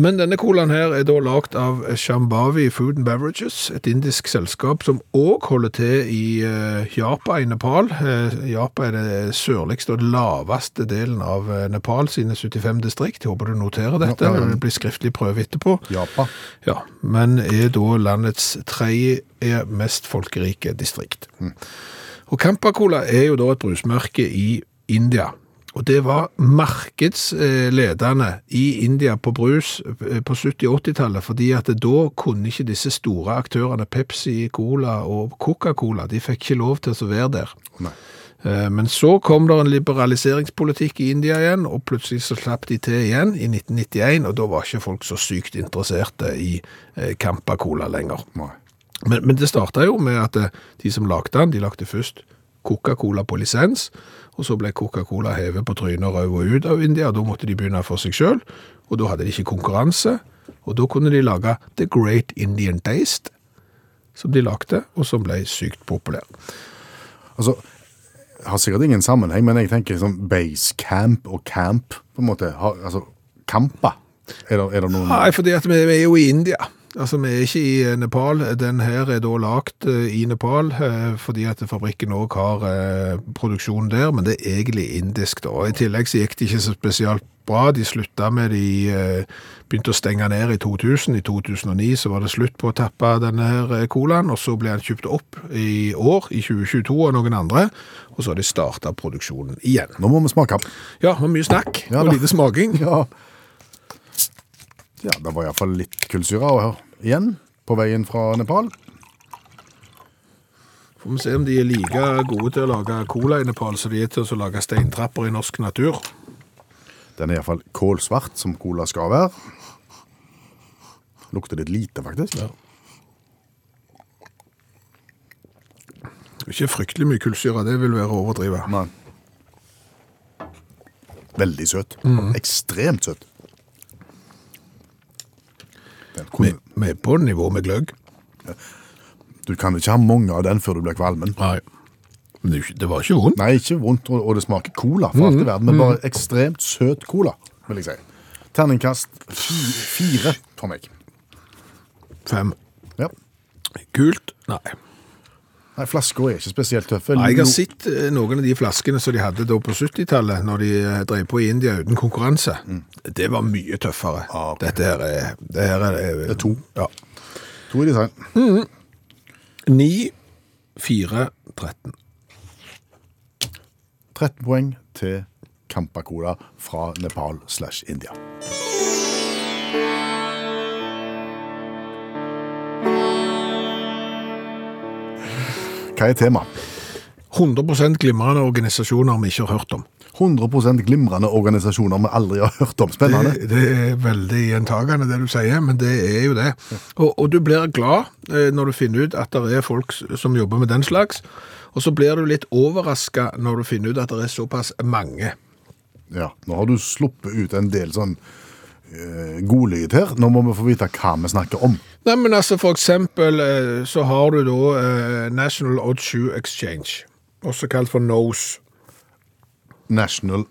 Speaker 2: Men denne colaen her er da lagd av Shambhavi Food and Beverages, et indisk selskap som òg holder til i eh, Japa i Nepal. Eh, Japa er det sørligste og laveste delen av eh, Nepal sine 75 distrikt. Jeg Håper du noterer dette,
Speaker 3: Ja, ja, ja.
Speaker 2: det blir skriftlig prøve etterpå.
Speaker 3: Japa.
Speaker 2: Ja, men er da landets tredje mest folkerike distrikt. Og Campacola er jo da et brusmerke i India. Og det var markedsledende i India på brus eh, på 70-80-tallet, fordi at da kunne ikke disse store aktørene, Pepsi, Cola og Coca-Cola, de fikk ikke lov til å være der.
Speaker 3: Nei.
Speaker 2: Eh, Men så kom det en liberaliseringspolitikk i India igjen, og plutselig så slapp de til igjen i 1991, og da var ikke folk så sykt interesserte i eh, Campa Cola lenger.
Speaker 3: Nei.
Speaker 2: Men, men det starta jo med at eh, de som lagde den, de lagde først Coca-Cola på lisens, og så ble Coca-Cola hevet på trynet og røv og ut av India, og da måtte de begynne for seg sjøl, og da hadde de ikke konkurranse, og da kunne de lage The Great Indian Taste, som de lagde, og som ble sykt populær.
Speaker 3: Altså, har sikkert ingen sammenheng, men jeg tenker sånn base camp og camp, på en måte. Har, altså, kampa. Er det, er det noen
Speaker 2: Nei, fordi at vi, vi er jo i India. Altså, vi er ikke i eh, Nepal. Den her er da lagt eh, i Nepal, eh, fordi at fabrikken også har eh, produksjon der, men det er egentlig indisk da. I tillegg så gikk det ikke så spesielt bra. De slutta med de eh, begynte å stenge ned i 2000. I 2009 så var det slutt på å tappe denne her eh, colaen, og så ble den kjøpt opp i år, i 2022, av noen andre, og så har de starta produksjonen igjen.
Speaker 3: Nå må vi smake.
Speaker 2: Ja, det var mye snakk
Speaker 3: Ja
Speaker 2: og
Speaker 3: da.
Speaker 2: lite smaking.
Speaker 3: Ja. ja, det var iallfall litt kullsyre å høre igjen på veien fra Nepal.
Speaker 2: Får vi se om de er like gode til å lage cola i Nepal som de er til å lage steintrapper i norsk natur.
Speaker 3: Den er iallfall kålsvart, som cola skal være. Lukter litt lite, faktisk.
Speaker 2: Ikke fryktelig mye kullsyre, det vil være å overdrive.
Speaker 3: Nei. Veldig søt.
Speaker 2: Mhm.
Speaker 3: Ekstremt søt. Den
Speaker 2: Vi
Speaker 3: kunne,
Speaker 2: vi er på nivå med gløgg.
Speaker 3: du kan ikke ha mange av den før du blir kvalmen.
Speaker 2: Nei. Men det er jo ikke- det var ikke vondt.
Speaker 3: Nei, ikke vondt, og og det smaker cola for alt i
Speaker 2: Mhm.
Speaker 3: verden, men bare ekstremt søt cola, vil jeg si. Terningkast fi- fire for meg.
Speaker 2: Fem.
Speaker 3: Ja.
Speaker 2: Kult? Nei.
Speaker 3: Nei, flasker er ikke spesielt tøffe.
Speaker 2: Nei, jeg
Speaker 3: No-
Speaker 2: har sett eh, noen av de flaskene som de hadde da på 70-tallet, når de eh, drev på i India uten konkurranse. Det var mye tøffere.
Speaker 3: Ah, ok.
Speaker 2: Dette her er, det her er, eh,
Speaker 3: Det er to.
Speaker 2: Ja.
Speaker 3: To i design.
Speaker 2: 9, 4, 13.
Speaker 3: 13 poeng til Kampa Cola fra Nepal slash India. Hva er tema?
Speaker 2: 100 glimrende organisasjoner vi ikke har hørt om.
Speaker 3: 100 glimrende organisasjoner vi aldri har hørt om. Spennende.
Speaker 2: Det, det er veldig gjentagende det du sier, men det er jo det. Og, og du blir glad eh, når du finner ut at det er folk s- som jobber med den slags, og så blir du litt overraska når du finner ut at det er såpass mange.
Speaker 3: Ja, nå har du sluppet ut en del sånn eh, godlyd her. Nå må vi få vite hva vi snakker om.
Speaker 2: Nei, men altså for eksempel eh, så har du da eh, National Odd Shoe Exchange, også kalt for NOSE.
Speaker 3: National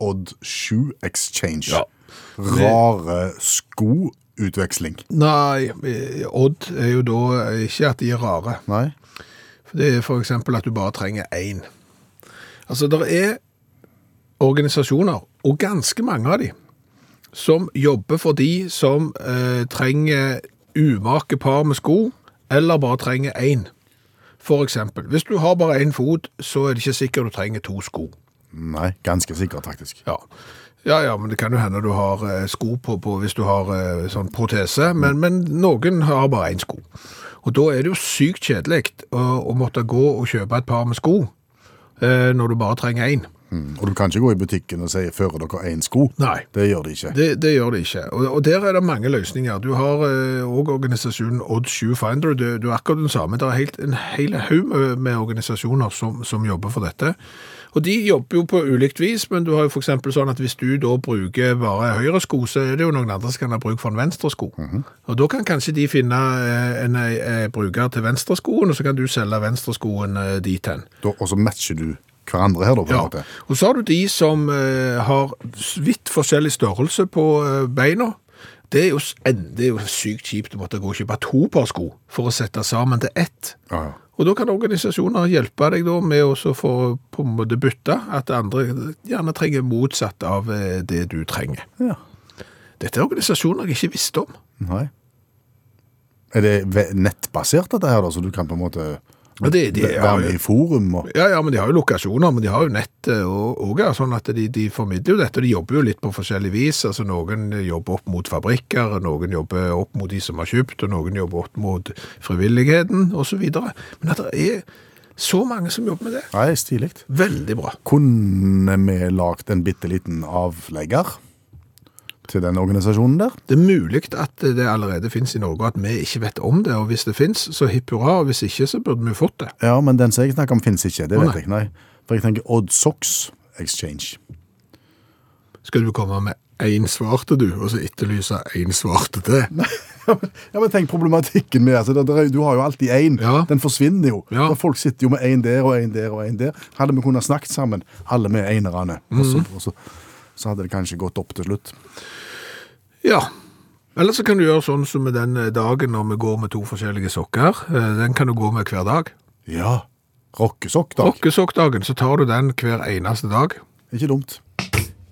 Speaker 3: Odd Shoe Exchange.
Speaker 2: Ja.
Speaker 3: Rare sko utveksling.
Speaker 2: Nei, eh, odd er jo da eh, ikke at de er rare.
Speaker 3: Nei?
Speaker 2: Det er for eksempel at du bare trenger én. Altså, det er organisasjoner, og ganske mange av de, som jobber for de som eh, trenger umake par med sko, eller bare trenger én. For eksempel, hvis du har bare én fot, så er det ikke sikkert du trenger to sko.
Speaker 3: Nei, ganske sikkert, faktisk.
Speaker 2: Ja. ja, ja, men det kan jo hende du har eh, sko på, på hvis du har eh, sånn protese, men, men noen har bare én sko. Og da er det jo sykt kjedelig å, å måtte gå og kjøpe et par med sko eh, når du bare trenger én.
Speaker 3: Mm. Og du kan ikke gå i butikken og si 'fører dere én sko'?
Speaker 2: Nei.
Speaker 3: Det gjør de ikke.
Speaker 2: Det, det gjør det ikke. Og, og der er det mange løsninger. Du har òg organisasjonen Odd Shoe Finder. Du, du er akkurat den samme. Det er helt, en hel haug med, med organisasjoner som, som jobber for dette. Og de jobber jo på ulikt vis, men du har jo f.eks. sånn at hvis du da bruker bare høyre sko, så er det jo noen andre som kan ha bruk for en venstre sko. Og da kan kanskje de finne eh, en eh, bruker til venstre skoen, og så kan du selge venstre skoen eh, dit hen.
Speaker 3: Da, og så matcher du hverandre her, da, på en
Speaker 2: Ja,
Speaker 3: måte.
Speaker 2: og så har du de som eh, har s- vidt forskjellig størrelse på eh, beina. Det er, jo, s- en- det er jo sykt kjipt å måtte gå og kjøpe to par sko for å sette sammen til ett.
Speaker 3: Ja, ja.
Speaker 2: Og da kan organisasjoner hjelpe deg da med å så få på en måte bytte, at andre gjerne trenger motsatt av eh, det du trenger.
Speaker 3: Ja.
Speaker 2: Dette er organisasjoner jeg ikke visste om.
Speaker 3: Nei. Er det ve- nettbasert, dette her, da? Så du kan på en måte
Speaker 2: Ja, det- det-
Speaker 3: v- være med i forum? Og...
Speaker 2: Ja, ja, men de har jo lokasjoner, men de har jo nett eh, og, og ja, sånn at de, de formidler jo dette. og De jobber jo litt på forskjellig vis. Altså Noen jobber opp mot fabrikker, og noen jobber opp mot de som har kjøpt, og noen jobber opp mot frivilligheten osv. Men at det er så mange som jobber med det.
Speaker 3: Nei, stilig.
Speaker 2: Veldig bra.
Speaker 3: Kunne vi lagd en bitte liten avlegger til den organisasjonen der?
Speaker 2: Det er mulig at det allerede finnes i Norge, og at vi ikke vet om det. Og hvis det finnes, så hipp hurra. Og hvis ikke, så burde vi fått det.
Speaker 3: Ja, men den som jeg snakker om, finnes ikke. Det
Speaker 2: Å,
Speaker 3: vet
Speaker 2: nei.
Speaker 3: jeg ikke, nei. For jeg tenker Odd Socks Exchange.
Speaker 2: Skal du komme med én svarte, du, og så etterlyse én svarte til?
Speaker 3: Ja, men tenk problematikken med altså, det, det, Du har jo alltid én.
Speaker 2: Ja.
Speaker 3: Den forsvinner jo.
Speaker 2: Ja.
Speaker 3: Og Folk sitter jo med én der og én der og én der. Hadde vi kunnet snakket sammen, alle med enerne, og så, og så, så hadde det kanskje gått opp til slutt.
Speaker 2: Ja. Eller så kan du gjøre sånn som med den eh, dagen når vi går med to forskjellige sokker. Eh, Den kan du gå med hver dag.
Speaker 3: Ja. Rockesokk, da.
Speaker 2: Rockesokkdagen, så tar du den hver eneste dag.
Speaker 3: Ikke dumt.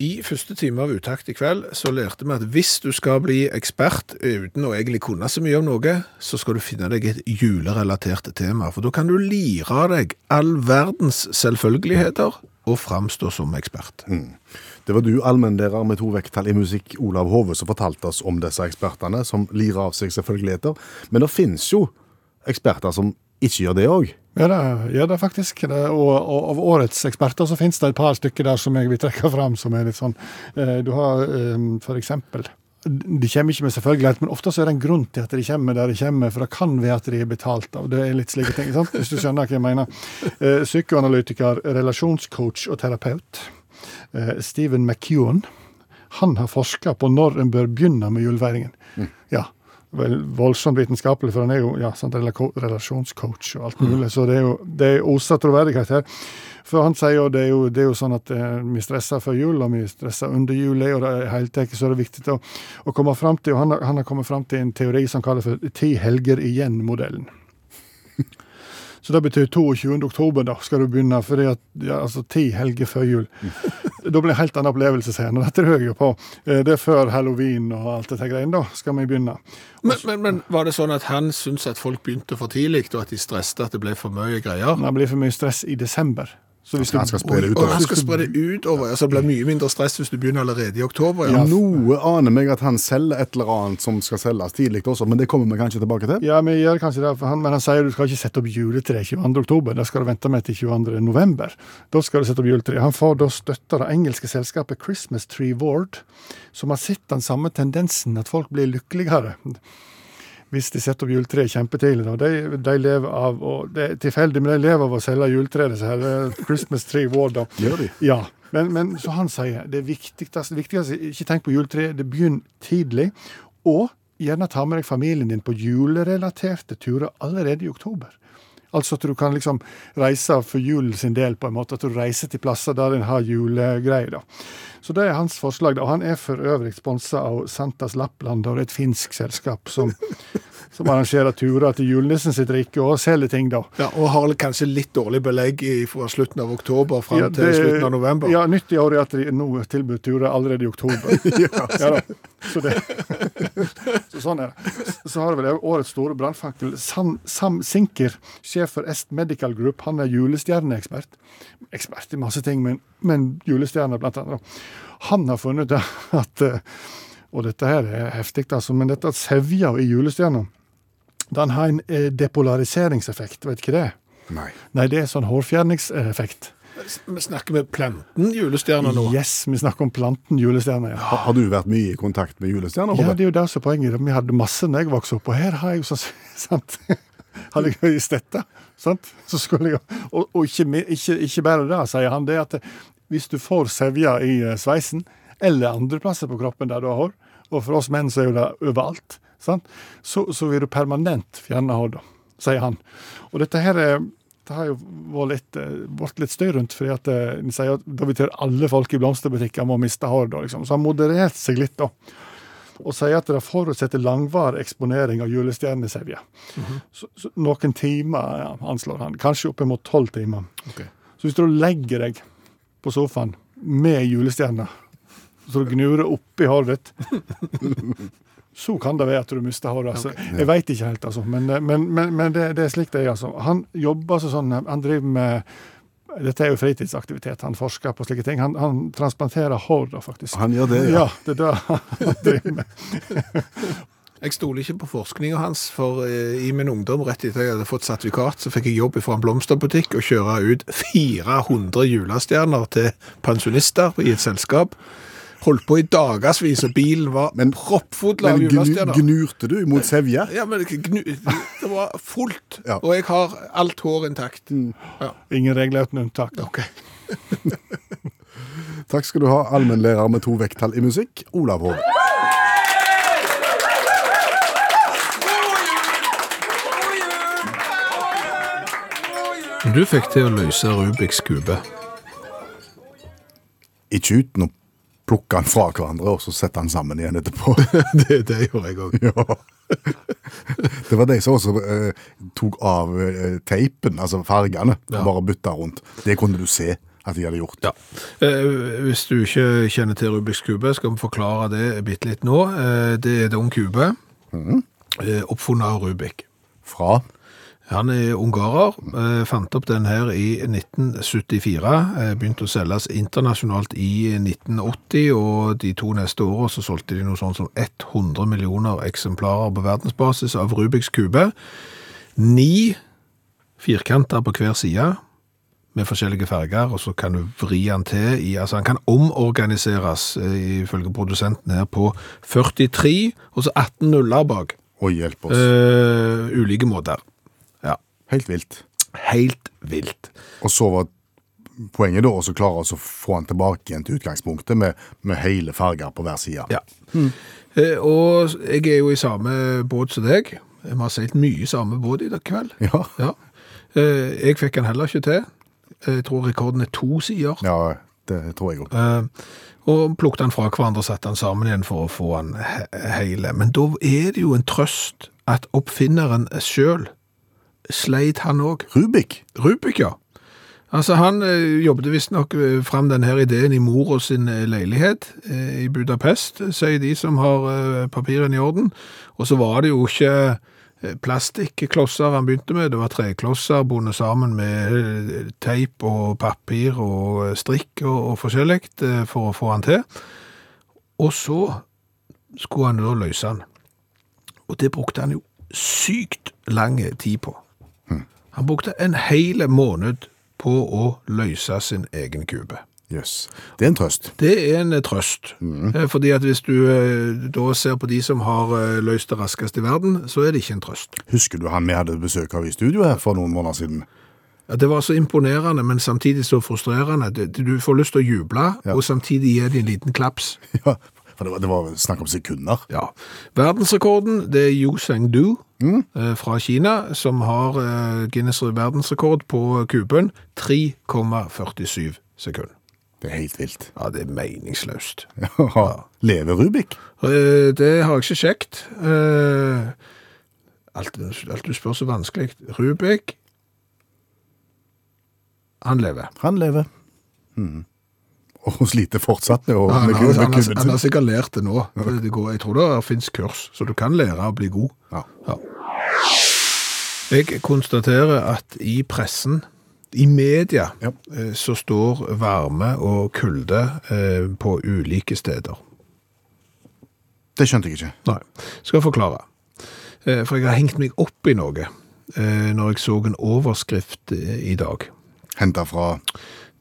Speaker 2: I første time av Utakt i kveld så lærte vi at hvis du skal bli ekspert eh, uten å egentlig kunne så mye om noe, så skal du finne deg et julerelatert tema. For da kan du lire deg all verdens selvfølgeligheter og framstå som ekspert.
Speaker 3: Det var du, allmennlærer med to vekttall i musikk, Olav Hove, som fortalte oss om disse ekspertene, som lirer av seg selvfølgeligheter. Men det finnes jo eksperter som ikke gjør det òg.
Speaker 6: Ja, det gjør det faktisk. Det, og, og av årets eksperter så finnes det et par stykker der som jeg vil trekke fram, som er litt sånn eh, Du har eh, for eksempel De kommer ikke med selvfølgelighet, men ofte så er det en grunn til at de kommer der de kommer, for det kan være at de er betalt av Det er litt slike ting, sant? hvis du skjønner hva jeg mener. Eh, psykoanalytiker, relasjonscoach og terapeut eh, Stephen McEwan han har forska på når en bør begynne med julefeiringen. Ja, vel, Voldsomt vitenskapelig, for han er jo ja, sant, relako- relasjonscoach og alt mulig. Så det er jo det er osa troverdighet her. For han sier jo det er jo, det er jo sånn at eh, vi stresser før jul, og vi stresser under jul, og det er helt tatt så er det viktig å, å komme fram til, og han, har- han har kommet fram til en teori som kalles for ti helger igjen-modellen. Så det betyr 22. oktober, da skal du begynne, fordi at, ja, altså ti helger før jul. Da blir det en helt annen opplevelse, sier han. Og dette hører jeg jo på. Eh, Det er før halloween og alt dette greiene. Da skal vi begynne.
Speaker 2: Men, men, men var det sånn at han syntes at folk begynte for tidlig, og at de stresste at det ble for mye greier?
Speaker 6: Det blir for mye stress i desember. Så hvis
Speaker 3: For han skal spre det utover.
Speaker 2: Og han skal spre det utover. Altså, det blir mye mindre stress hvis du begynner allerede i oktober. Ja.
Speaker 3: Noe aner meg at han selger et eller annet som skal selges tidlig også, men det kommer vi kanskje tilbake til.
Speaker 6: Ja, vi gjør kanskje det, for han, men han sier du skal ikke sette opp juletre 22. oktober, det skal du vente med til 22. november. Da skal du sette opp juletre. Han får da støtte av det engelske selskapet Christmas Tree Ward, som har sett den samme tendensen, at folk blir lykkeligere. Hvis de setter opp juletre kjempetidlig. da. De, de lever av å, Det er tilfeldig, men de lever av å selge juletre, disse her eh, Christmas Tree Ward. da.
Speaker 3: Gjør de?
Speaker 6: Ja, men, men så han sier det viktigste, det viktigste altså, ikke tenk på juletreet, det begynn tidlig. Og gjerne ta med deg familien din på julerelaterte turer allerede i oktober. Altså at du kan liksom reise for julen sin del, på en måte. At du reiser til plasser der en har julegreier, da. Så det er hans forslag, da. Og han er for øvrig sponsa av Santas Lappland, og det er et finsk selskap som, som arrangerer turer til julenissen sitt rike og selger ting, da.
Speaker 2: Ja, og har kanskje litt dårlig belegg i- fra slutten av oktober fram
Speaker 6: Ja,
Speaker 2: til
Speaker 6: det-
Speaker 2: slutten av november.
Speaker 6: Ja, nytt i år er at de nå tilbyr turer allerede i oktober. ja, da. Så, det. så sånn er det. Så har vi det årets store brannfakkel. Sam, Sam Sinker, sjef for Est Medical Group, han er julestjerneekspert. Ekspert i masse ting, men, men julestjerne blant annet. Han har funnet ut at eh, Og dette her er heftig, altså, men dette at sevja i julestjerna den har en eh, depolariseringseffekt, vet ikke det?
Speaker 3: Nei.
Speaker 6: Nei, det er sånn hårfjerningseffekt.
Speaker 2: Vi snakker med planten julestjerna nå.
Speaker 6: Yes, vi snakker om planten julestjerne. Ja.
Speaker 3: Har, har du vært mye i kontakt med julestjerner?
Speaker 6: ja,
Speaker 3: Robert?
Speaker 6: det er jo det som er poenget. Vi hadde masse når jeg vokste opp, og her har jeg jo sånn sant? Hadde jeg vært i stetta, sant? så skulle jeg Og, og ikke, mi- ikke, ikke bare det, sier han, det er at eh, hvis du får sevja i eh, sveisen, eller andreplasser på kroppen der du har hår, og for oss menn så er jo det overalt, sant? Så, så vil du permanent fjerne hår, da, sier han. Og dette her er det har jo vært litt, eh, vært litt støy rundt, fordi at eh, en sier at det betyr alle folk i blomsterbutikker må miste hår, da, liksom. Så han modererte seg litt, da og sier at det forutsetter langvarig eksponering av julestjernesevje.
Speaker 3: Mhm.
Speaker 6: så, så noen timer ja, anslår han, kanskje oppimot tolv timer. Så hvis du legger deg på sofaen med julestjerna, så du gnurer oppi håret ditt, så kan det være at du mister håret. Altså. Jeg veit ikke helt, altså. Men, men, men, men det, det er slik det er, altså. Han jobber altså sånn, han driver med dette er jo fritidsaktivitet. Han forsker på slike ting. Han, han transplanterer hår, da, faktisk.
Speaker 3: Han gjør det, ja.
Speaker 6: ja det er det han driver med.
Speaker 2: Jeg stoler ikke på forskninga hans, for eh, i min ungdom, rett etter jeg hadde fått sertifikat, så fikk jeg jobb fra en blomsterbutikk og kjøre ut 400 julestjerner til pensjonister i et selskap. Holdt på i dagevis, og bilen var
Speaker 3: Men-
Speaker 2: proppfull av
Speaker 3: Men gnu,
Speaker 2: julestjerner.
Speaker 3: gnurte du mot sevje?
Speaker 2: Ja, men gnu, det var fullt,
Speaker 3: Ja.
Speaker 2: og jeg har alt hår intakt.
Speaker 6: Ingen regler uten unntak.
Speaker 3: Takk skal du ha, allmennlærer med to vekttall i musikk, Olav Hove.
Speaker 2: Du fikk til å løse Rubiks kube.
Speaker 3: Ikke uten å plukke han fra hverandre og så sette han sammen igjen etterpå.
Speaker 2: det, det gjorde jeg òg.
Speaker 3: ja. Det var de som også eh, tok av eh, teipen, altså fargene, og bare bytta rundt. Det kunne du se at de hadde gjort.
Speaker 2: Ja. Eh, hvis du ikke kjenner til Rubiks kube, skal vi forklare det bitte litt nå. Eh, det er en ung kube, eh, oppfunnet av Rubik.
Speaker 3: Fra
Speaker 2: Han er ungarer, eh, fant opp den her i 1974, eh, begynte å selges internasjonalt i 1980, og de to neste årene så solgte de noe sånn som 100 millioner eksemplarer på verdensbasis av Rubiks kube. Ni firkanter på hver side, med forskjellige farger, og så kan du vri han til i Altså, han kan omorganiseres, eh, ifølge produsenten her, på 43, og så 18 nuller bak.
Speaker 3: Å hjelpe oss.
Speaker 2: Eh, ulike måter. Ja.
Speaker 3: Helt vilt.
Speaker 2: Helt vilt.
Speaker 3: Og så var poenget da også å klare å få han tilbake igjen til utgangspunktet med, med hele farger på hver side.
Speaker 2: Ja. Eh, og jeg er jo i samme båt som deg. Vi har seilt mye i samme båt i dag kveld.
Speaker 3: Ja.
Speaker 2: Eh, jeg fikk den heller ikke til. Eh, Jeg tror rekorden er to sider.
Speaker 3: Ja, det tror jeg òg.
Speaker 2: Eh, og plukket den fra hverandre og satte den sammen igjen for å få den he hele. Men da er det jo en trøst at oppfinneren sjøl sleit han òg.
Speaker 3: Rubik.
Speaker 2: Rubik, ja. Altså, han eh, jobbet visstnok eh, fram denne ideen i mora sin eh, leilighet eh, i Budapest, eh, sier de som har eh, papirene i orden. Og så var det jo ikke eh, plastikklosser han begynte med, det var treklosser bundet sammen med eh, teip og papir og eh, strikk og, og forskjellig eh, for å få han til. Og så skulle han da løse han. Og det brukte han jo sykt lang tid på. Han brukte en hel måned på å løse sin egen kube.
Speaker 3: Jøss. Det er en trøst.
Speaker 2: Det er en eh, trøst, Eh, fordi at hvis du eh, da ser på de som har eh, løst det raskest i verden, så er det ikke en trøst.
Speaker 3: Husker du han vi hadde besøk av i studio her for noen måneder siden?
Speaker 2: Ja, Det var så imponerende, men samtidig så frustrerende. Du- Du får lyst til å juble, og samtidig gir de en liten klaps.
Speaker 3: Ja, for det var, det var snakk om sekunder.
Speaker 2: Ja. Verdensrekorden, det er Yu Seng Du. eh, fra Kina, som har eh, Guinness verdensrekord på kuben 3,47 sekunder.
Speaker 3: Det er helt vilt.
Speaker 2: Ja, det er meningsløst.
Speaker 3: Lever Rubik?
Speaker 2: Eh, Det har jeg ikke sjekt. Eh, Alt, alt du spør så vanskelig. Rubik, han lever.
Speaker 3: Han lever. Mhm. Og hun sliter fortsatt med, å-
Speaker 2: Han,
Speaker 3: med,
Speaker 2: han,
Speaker 3: med
Speaker 2: han,
Speaker 3: kubben
Speaker 2: har- han har
Speaker 3: sin.
Speaker 2: sikkert lært det nå. Det, det går, jeg tror det finnes kurs, så du kan lære å bli god.
Speaker 3: Ja.
Speaker 2: Ja. Jeg konstaterer at i pressen, i media,
Speaker 3: Ja.
Speaker 2: eh, så står varme og kulde eh, på ulike steder.
Speaker 3: Det skjønte jeg ikke.
Speaker 2: Nei. Skal jeg forklare. Eh, For jeg har hengt meg opp i noe eh, når jeg så en overskrift eh, i dag.
Speaker 3: Henta fra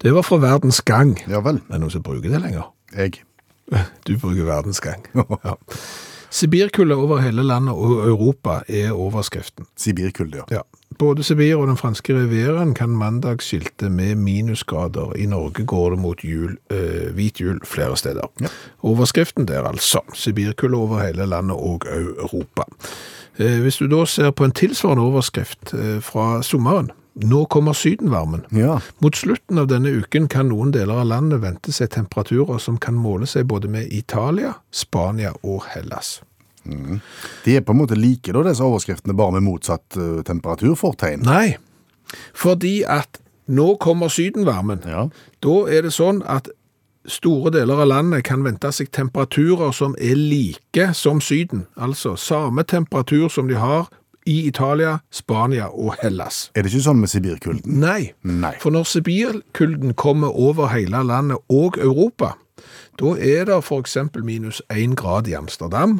Speaker 2: Det var fra Verdens Gang.
Speaker 3: Ja vel,
Speaker 2: Det er noen som bruker det lenger.
Speaker 3: jeg.
Speaker 2: Du bruker Verdens Gang. Ja. Sibirkulde over hele landet og Europa er overskriften.
Speaker 3: Sibirkulde, ja.
Speaker 2: Ja. Både Sibir og den franske rivieraen kan mandag skilte med minusgrader. I Norge går det mot jul, eh, hvit jul flere steder. Overskriften der altså. Sibirkulde over hele landet og au- Europa. Eh, hvis du da ser på en tilsvarende overskrift eh, fra sommeren. Nå kommer sydenvarmen.
Speaker 3: Ja.
Speaker 2: Mot slutten av denne uken kan noen deler av landet vente seg temperaturer som kan måle seg både med Italia, Spania og Hellas.
Speaker 3: De er på en måte like, da, disse overskriftene, bare med motsatt eh, temperaturfortegn.
Speaker 2: Nei, fordi at nå kommer sydenvarmen.
Speaker 3: Ja.
Speaker 2: Da er det sånn at store deler av landet kan vente seg temperaturer som er like som Syden. Altså samme temperatur som de har i Italia, Spania og Hellas.
Speaker 3: Er det ikke sånn med Sibirkulden?
Speaker 2: Nei,
Speaker 3: Nei.
Speaker 2: for når Sibirkulden kommer over hele landet og Europa, da er det for eksempel minus 1 grad i Amsterdam,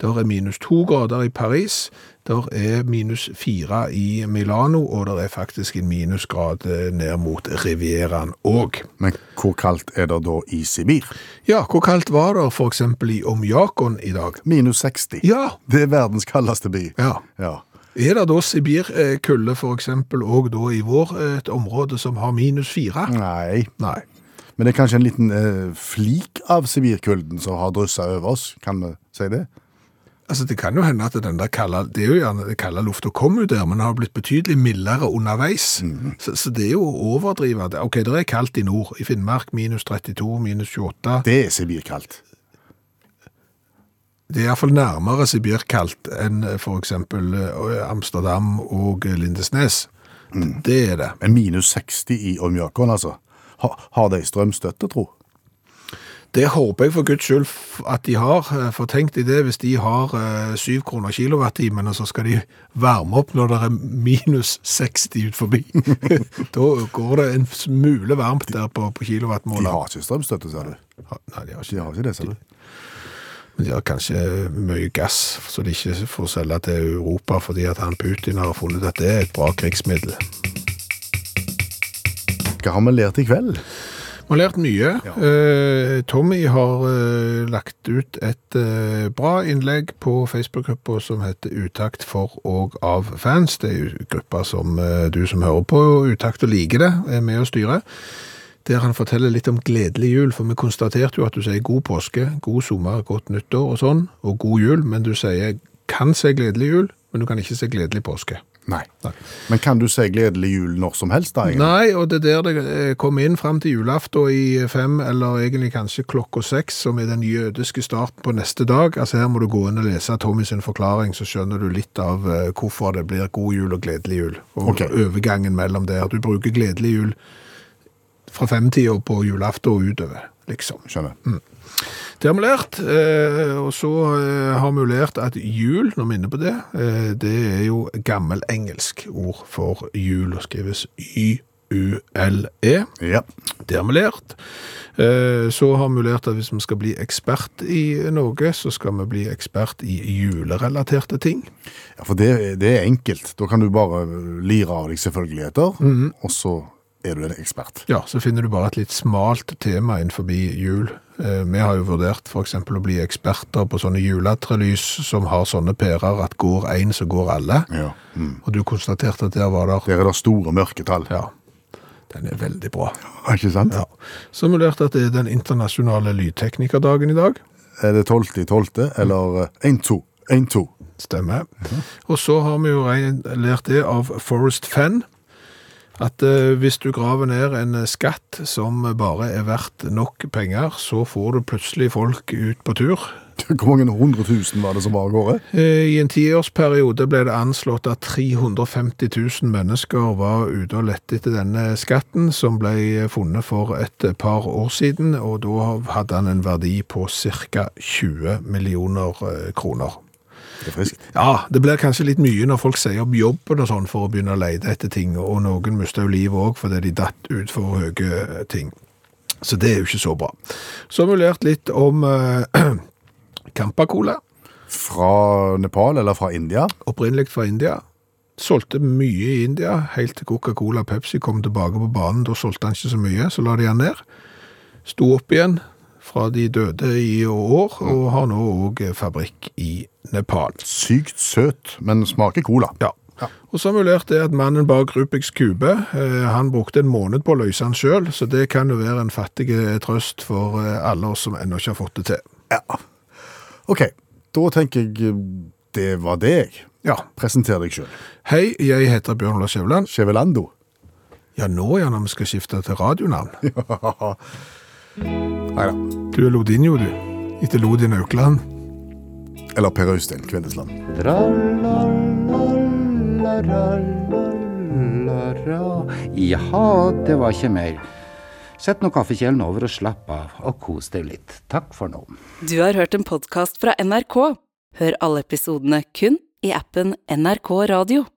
Speaker 2: der er minus 2 grader i Paris, der er minus 4 i Milano, og der er faktisk en minusgrad eh, ned mot Rivieraen også.
Speaker 3: Men hvor kaldt er det da i Sibir?
Speaker 2: Ja, hvor kaldt var det for eksempel i Omjakon i dag?
Speaker 3: Minus 60.
Speaker 2: Ja,
Speaker 3: Det er verdens kaldeste by.
Speaker 2: ja.
Speaker 3: Ja.
Speaker 2: Er det da Sibirkulde for eksempel også da i vår eh, et område som har minus
Speaker 3: Mm.
Speaker 2: 4?
Speaker 3: Nei.
Speaker 2: Nei.
Speaker 3: Men det er kanskje en liten eh, flik av Sibirkulden som har drussa over oss, kan vi si det?
Speaker 2: Altså, Det kan jo hende at den der kalde, det er jo gjerne det kalde lufta kom jo der, men det har blitt betydelig mildere underveis. Så, så det er jo å overdrive. det. Ok, det er kaldt i nord. I Finnmark minus 32, minus 28. Det,
Speaker 3: Det er Sibirkaldt.
Speaker 2: det er iallfall nærmere Sibirkaldt enn eh, f.eks. eh, Amsterdam og eh, Lindesnes. Det- Det er det.
Speaker 3: Men minus 60 i Omjakon, altså. Ha, har de strømstøtte, tro?
Speaker 2: Det håper jeg for guds skyld f- at de har, eh, for tenk deg det hvis de har eh, 7 kroner kilowattimen, og så skal de varme opp når det er minus 60 ut forbi. da går det en smule varmt der på, på
Speaker 3: De
Speaker 2: kilowattmålet.
Speaker 3: har ikke strømstøtte, sa du.
Speaker 2: Nei, de har
Speaker 3: De
Speaker 2: ikke det.
Speaker 3: har ikke det, sa du.
Speaker 2: Men de har kanskje mye gass, så de ikke får selge til Europa, fordi at han Putin har funnet at det er et bra krigsmiddel.
Speaker 3: Hva har vi lært i kveld?
Speaker 2: Vi har lært mye. Eh, Tommy har eh, lagt ut et eh, bra innlegg på Facebook-gruppa som heter Utakt for og av fans. Det er jo gruppa som eh, du som hører på Utakt og liker det, er med å styre. Der han forteller litt om gledelig jul, for vi konstaterte jo at du sier god påske, god sommer, godt nyttår og sånn, og god jul, men du sier kan si gledelig jul, men du kan ikke si gledelig påske.
Speaker 3: Nei.
Speaker 2: Nei.
Speaker 3: Men kan du si gledelig jul når som helst, da? egentlig?
Speaker 2: Nei, og det er der det eh, kom inn fram til julaften i fem, eller egentlig kanskje klokka seks, som er den jødiske starten på neste dag. Altså her må du gå inn og lese Tommy sin forklaring, så skjønner du litt av eh, hvorfor det blir god jul og gledelig jul. Og
Speaker 3: Ok.
Speaker 2: overgangen mellom der. Du bruker gledelig jul fra femtida på julaften og utover, liksom.
Speaker 3: Skjønner.
Speaker 2: Det har vi lært, eh, og så eh, har vi jo lært at jul, når vi er inne på det, eh, det er jo gammel engelsk ord for jul, og skrives Y-U-L-E.
Speaker 3: Ja.
Speaker 2: E. Det har vi lært. Eh, Så har vi lært at hvis vi skal bli ekspert i noe, så skal vi bli ekspert i julerelaterte ting.
Speaker 3: ja, for det, det er enkelt. Da kan du bare lire av deg selvfølgeligheter,
Speaker 2: Mhm.
Speaker 3: og så er du en ekspert.
Speaker 2: Ja, så finner du bare et litt smalt tema innenfor jul. Eh, Vi har jo vurdert for eksempel å bli eksperter på sånne juletrelys som har sånne pærer at går en, så går alle.
Speaker 3: Ja.
Speaker 2: Og du konstaterte at der var der.
Speaker 3: Mm. Der er det store mørketall.
Speaker 2: Ja. Den er veldig bra.
Speaker 3: Ikke sant?
Speaker 2: Ja. Så har vi lært at det er den internasjonale lydteknikerdagen i dag.
Speaker 3: eh, Er det 12. i 12., eller 1-2? 1-2.
Speaker 2: Stemmer. Og så har vi jo en- lært det av Forrest Fenn, at eh, hvis du graver ned en eh, skatt som bare er verdt nok penger, så får du plutselig folk ut på tur.
Speaker 3: Hvor mange hundre tusen var det som var av gårde?
Speaker 2: Eh, I en tiårsperiode ble det anslått at 350 000 mennesker var ute og lette etter denne skatten, som ble funnet for et par år siden, og da hadde han en verdi på ca. 20 millioner eh, kroner.
Speaker 3: Det er friskt.
Speaker 2: Ja, det blir kanskje litt mye når folk sier opp jobben og sånn for å begynne å lete etter ting, og noen mister jo livet òg fordi de datt ut for høye ting. Så det er jo ikke så bra. Så har vi lært litt om eh, Campa-cola,
Speaker 3: Fra Nepal eller fra India?
Speaker 2: opprinnelig fra India. Solgte mye i India, helt til Coca-Cola og Pepsi kom tilbake på banen. Da solgte han ikke så mye, så la de han ned. Sto opp igjen fra de døde i år, og har nå òg fabrikk i Nepal.
Speaker 3: Sykt søt, men smaker cola.
Speaker 2: Ja. Og så har vi lært det at mannen bak Rubiks kube, eh, han brukte en måned på å løse han sjøl, så det kan jo være en fattig eh, trøst for eh, alle oss som ennå ikke har fått det til.
Speaker 3: Ok, da tenker jeg eh, det var det jeg.
Speaker 2: Ja.
Speaker 3: Presenter deg sjøl.
Speaker 2: Hei, jeg heter Bjørn Lars Skjæveland.
Speaker 3: Chevelando.
Speaker 2: Ja, nå ja, når vi skal skifte til radionavn.
Speaker 3: Nei da.
Speaker 2: Du er Lodinjo, du. Etter Lodin Aukland.
Speaker 3: Eller Per Øystein Kvindesland.
Speaker 8: Tra-la-la-la-la-la. Jaha, det var ikke mer. Sett nå kaffekjelen over og slapp av, og kos deg litt. Takk for nå.
Speaker 1: Du har hørt en podkast fra NRK. Hør alle episodene kun i appen NRK Radio.